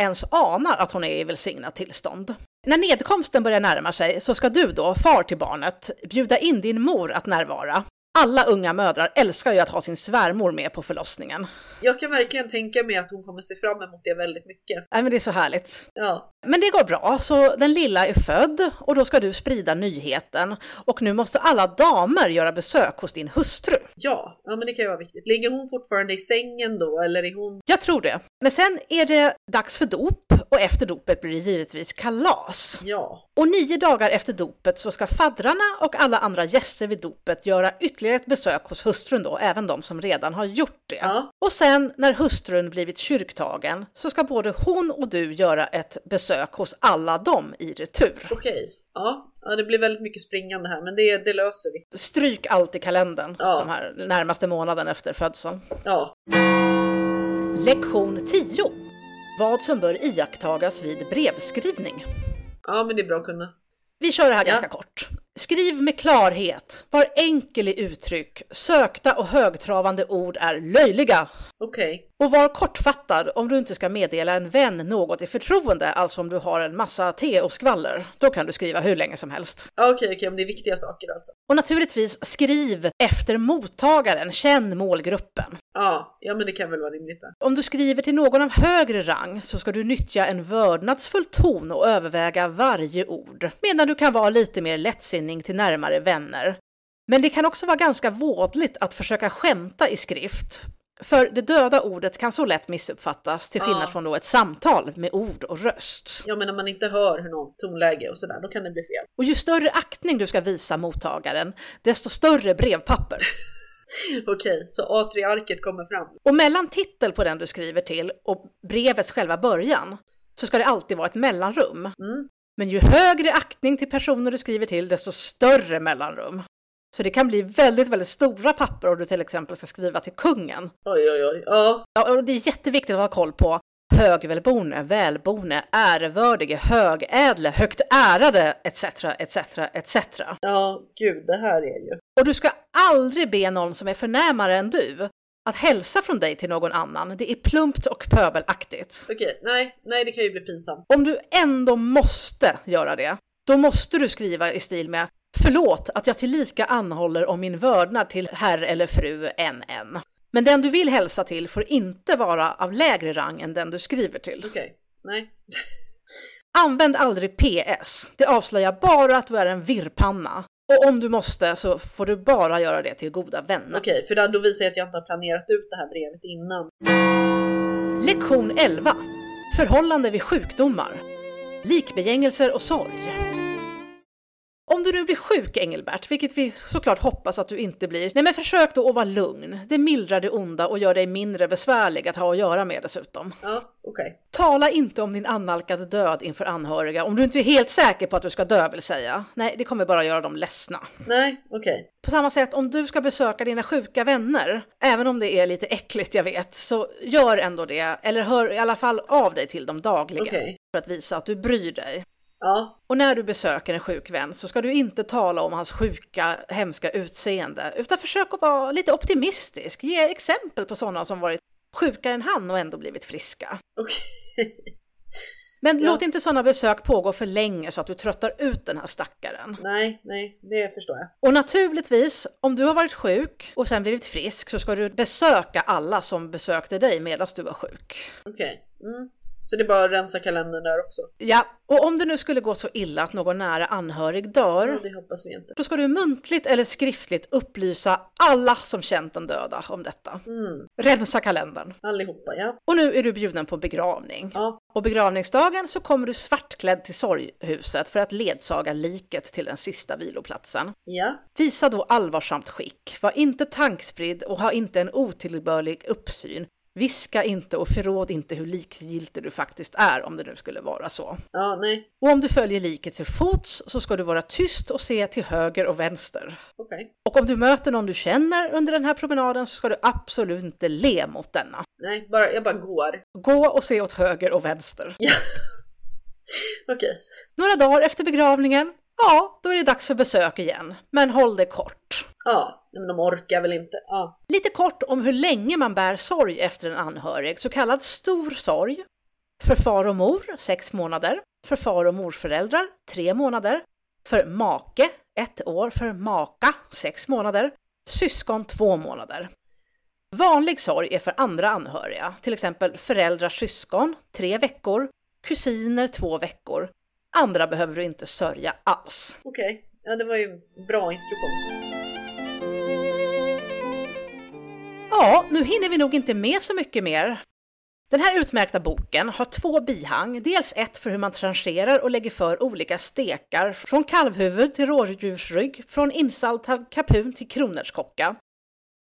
Speaker 2: ens anar att hon är i välsignat tillstånd. När nedkomsten börjar närma sig så ska du då, far till barnet, bjuda in din mor att närvara. Alla unga mödrar älskar ju att ha sin svärmor med på förlossningen.
Speaker 3: Jag kan verkligen tänka mig att hon kommer se fram emot det väldigt mycket.
Speaker 2: Nej men det är så härligt.
Speaker 3: Ja.
Speaker 2: Men det går bra, så den lilla är född och då ska du sprida nyheten. Och nu måste alla damer göra besök hos din hustru.
Speaker 3: Ja, ja men det kan ju vara viktigt. Ligger hon fortfarande i sängen då eller är hon...
Speaker 2: Jag tror det. Men sen är det dags för dop och efter dopet blir det givetvis kalas.
Speaker 3: Ja.
Speaker 2: Och nio dagar efter dopet så ska faddrarna och alla andra gäster vid dopet göra ytterligare ett besök hos hustrun då, även de som redan har gjort det.
Speaker 3: Ja.
Speaker 2: Och sen när hustrun blivit kyrktagen så ska både hon och du göra ett besök hos alla dem i retur.
Speaker 3: Okej. Ja. ja, det blir väldigt mycket springande här men det, det löser vi.
Speaker 2: Stryk allt i kalendern
Speaker 3: Ja.
Speaker 2: de här närmaste månaden efter födseln.
Speaker 3: Ja.
Speaker 2: Lektion 10. Vad som bör iakttagas vid brevskrivning.
Speaker 3: Ja men det är bra att kunna.
Speaker 2: Vi kör det här
Speaker 3: Ja.
Speaker 2: ganska kort. Skriv med klarhet. Var enkel i uttryck. Sökta och högtravande ord är löjliga.
Speaker 3: Okej.
Speaker 2: Och var kortfattad om du inte ska meddela en vän något i förtroende, alltså om du har en massa te och skvaller. Då kan du skriva hur länge som helst.
Speaker 3: Ja, Okej, okej, om det är viktiga saker alltså.
Speaker 2: Och naturligtvis, skriv efter mottagaren. Känn målgruppen.
Speaker 3: Ja, ja men det kan väl vara rimligt där.
Speaker 2: Om du skriver till någon av högre rang så ska du nyttja en vördnadsfull ton och överväga varje ord, medan du kan vara lite mer lättsinnig till närmare vänner. Men det kan också vara ganska vådligt att försöka skämta i skrift, för det döda ordet kan så lätt missuppfattas till skillnad
Speaker 3: Ja.
Speaker 2: från då ett samtal med ord och röst.
Speaker 3: Ja men när man inte hör hur någon tonläge och sådär, då kan det bli fel.
Speaker 2: Och ju större aktning du ska visa mottagaren, desto större brevpapper.
Speaker 3: Okej, så A3-arket kommer fram.
Speaker 2: Och mellan titel på den du skriver till och brevets själva början så ska det alltid vara ett mellanrum.
Speaker 3: Mm.
Speaker 2: Men ju högre aktning till personer du skriver till, desto större mellanrum. Så det kan bli väldigt, väldigt stora papper om du till exempel ska skriva till kungen.
Speaker 3: Oj, oj, oj. Ja,
Speaker 2: Ja, och det är jätteviktigt att ha koll på högvälborne, välborne, ärevördige, högädle, högt ärade, etc, etc, etc.
Speaker 3: ja, gud, det här är ju.
Speaker 2: Och du ska aldrig be någon som är förnämare än du att hälsa från dig till någon annan. Det är plumpt och pöbelaktigt.
Speaker 3: Okej, nej, nej, det kan ju bli pinsamt.
Speaker 2: Om du ändå måste göra det, då måste du skriva i stil med Förlåt att jag tillika anhåller om min vördnad till herr eller fru NN. Men den du vill hälsa till får inte vara av lägre rang än den du skriver till.
Speaker 3: Okej, nej.
Speaker 2: Använd aldrig PS. Det avslöjar bara att du är en virrpanna. Och om du måste så får du bara göra det till goda vänner.
Speaker 3: Okej, för då- då visar jag att jag inte har planerat ut det här brevet innan.
Speaker 2: Lektion 11. Förhållande vid sjukdomar. Likbegängelser och sorg. Om du nu blir sjuk, Engelbert, vilket vi såklart hoppas att du inte blir, nej men försök då att vara lugn. Det mildrar det onda och gör dig mindre besvärlig att ha att göra med dessutom.
Speaker 3: Ja, okej.
Speaker 2: Tala inte om din annalkade död inför anhöriga om du inte är helt säker på att du ska dö, vill säga. Nej, det kommer bara göra dem ledsna.
Speaker 3: Nej, okej.
Speaker 2: På samma sätt, om du ska besöka dina sjuka vänner, även om det är lite äckligt jag vet, så gör ändå det, eller hör i alla fall av dig till dem dagligen
Speaker 3: Okej.
Speaker 2: för att visa att du bryr dig.
Speaker 3: Ja,
Speaker 2: Och när du besöker en sjuk vän så ska du inte tala om hans sjuka, hemska utseende, utan försök att vara lite optimistisk. Ge exempel på sådana som varit sjukare än han och ändå blivit friska.
Speaker 3: okej.
Speaker 2: Men
Speaker 3: Ja.
Speaker 2: låt inte sådana besök pågå för länge så att du tröttar ut den här stackaren.
Speaker 3: Nej, nej, det förstår jag.
Speaker 2: Och naturligtvis, om du har varit sjuk och sen blivit frisk så ska du besöka alla som besökte dig medan du var sjuk.
Speaker 3: Okej. Mm. Så det är bara att rensa kalendern där också.
Speaker 2: Ja, och om det nu skulle gå så illa att någon nära anhörig
Speaker 3: Ja,
Speaker 2: dör,
Speaker 3: det hoppas vi inte.
Speaker 2: då ska du muntligt eller skriftligt upplysa alla som känt den döda om detta.
Speaker 3: Mm,
Speaker 2: Rensa kalendern.
Speaker 3: allihopa ja.
Speaker 2: Och nu är du bjuden på begravning.
Speaker 3: Ja,
Speaker 2: Och begravningsdagen så kommer du svartklädd till sorghuset för att ledsaga liket till den sista viloplatsen.
Speaker 3: ja.
Speaker 2: Visa då allvarsamt skick, var inte tankspridd och ha inte en otillbörlig uppsyn. Viska inte och förråd inte hur likgiltig du faktiskt är om det nu skulle vara så.
Speaker 3: Ja, nej.
Speaker 2: Och om du följer liket till fots så ska du vara tyst och se till höger och vänster.
Speaker 3: Okej.
Speaker 2: Och om du möter någon du känner under den här promenaden så ska du absolut inte le mot denna.
Speaker 3: Nej, bara, jag bara går.
Speaker 2: Gå och se åt höger och vänster.
Speaker 3: Okej.
Speaker 2: Några dagar efter begravningen, ja, då är det dags för besök igen. Men håll det kort.
Speaker 3: Ja, men de orkar väl inte. Ja.
Speaker 2: Lite kort om hur länge man bär sorg efter en anhörig, så kallad stor sorg. För far och mor, sex månader. För far och morföräldrar, tre månader. För make, ett år. För maka, sex månader. Syskon, två månader. Vanlig sorg är för andra anhöriga, till exempel föräldrars syskon, tre veckor. Kusiner, två veckor. Andra behöver du inte sörja alls.
Speaker 3: Okej. Ja, det var ju bra instruktion.
Speaker 2: Ja, nu hinner vi nog inte med så mycket mer. Den här utmärkta boken har två bihang, dels ett för hur man trancherar och lägger för olika stekar från kalvhuvud till rådjursrygg, från insaltad kapun till kronärtskocka,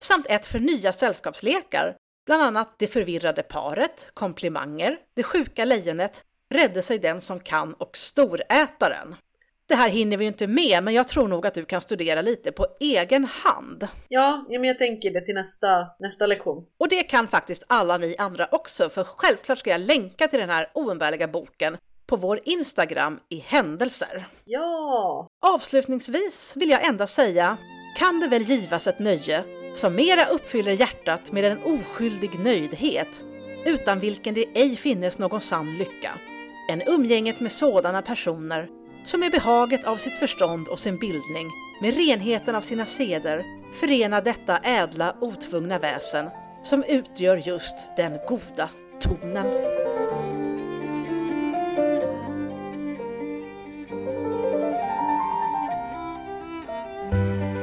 Speaker 2: samt ett för nya sällskapslekar, bland annat Det förvirrade paret, Komplimanger, Det sjuka lejonet, Rädde sig den som kan och Storätaren. Det här hinner vi ju inte med, men jag tror nog att du kan studera lite på egen hand.
Speaker 3: Ja, ja men jag tänker det till nästa, nästa lektion.
Speaker 2: Och det kan faktiskt alla ni andra också, för självklart ska jag länka till den här oumbärliga boken på vår Instagram i händelser.
Speaker 3: Ja!
Speaker 2: Avslutningsvis vill jag endast säga, kan det väl givas ett nöje som mera uppfyller hjärtat med en oskyldig nöjdhet, utan vilken det ej finnes någon sann lycka, än umgänget med sådana personer som med behaget av sitt förstånd och sin bildning, med renheten av sina seder, förena detta ädla otvungna väsen som utgör just den goda tonen.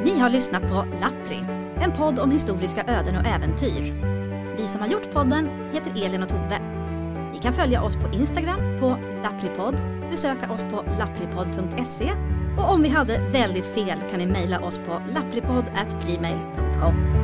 Speaker 4: Ni har lyssnat på Lappri, en podd om historiska öden och äventyr. Vi som har gjort podden heter Elin och Tove. Ni kan följa oss på Instagram på lappripodd, besöka oss på lappripodd.se och om vi hade väldigt fel kan ni mejla oss på lappripodd.gmail.com.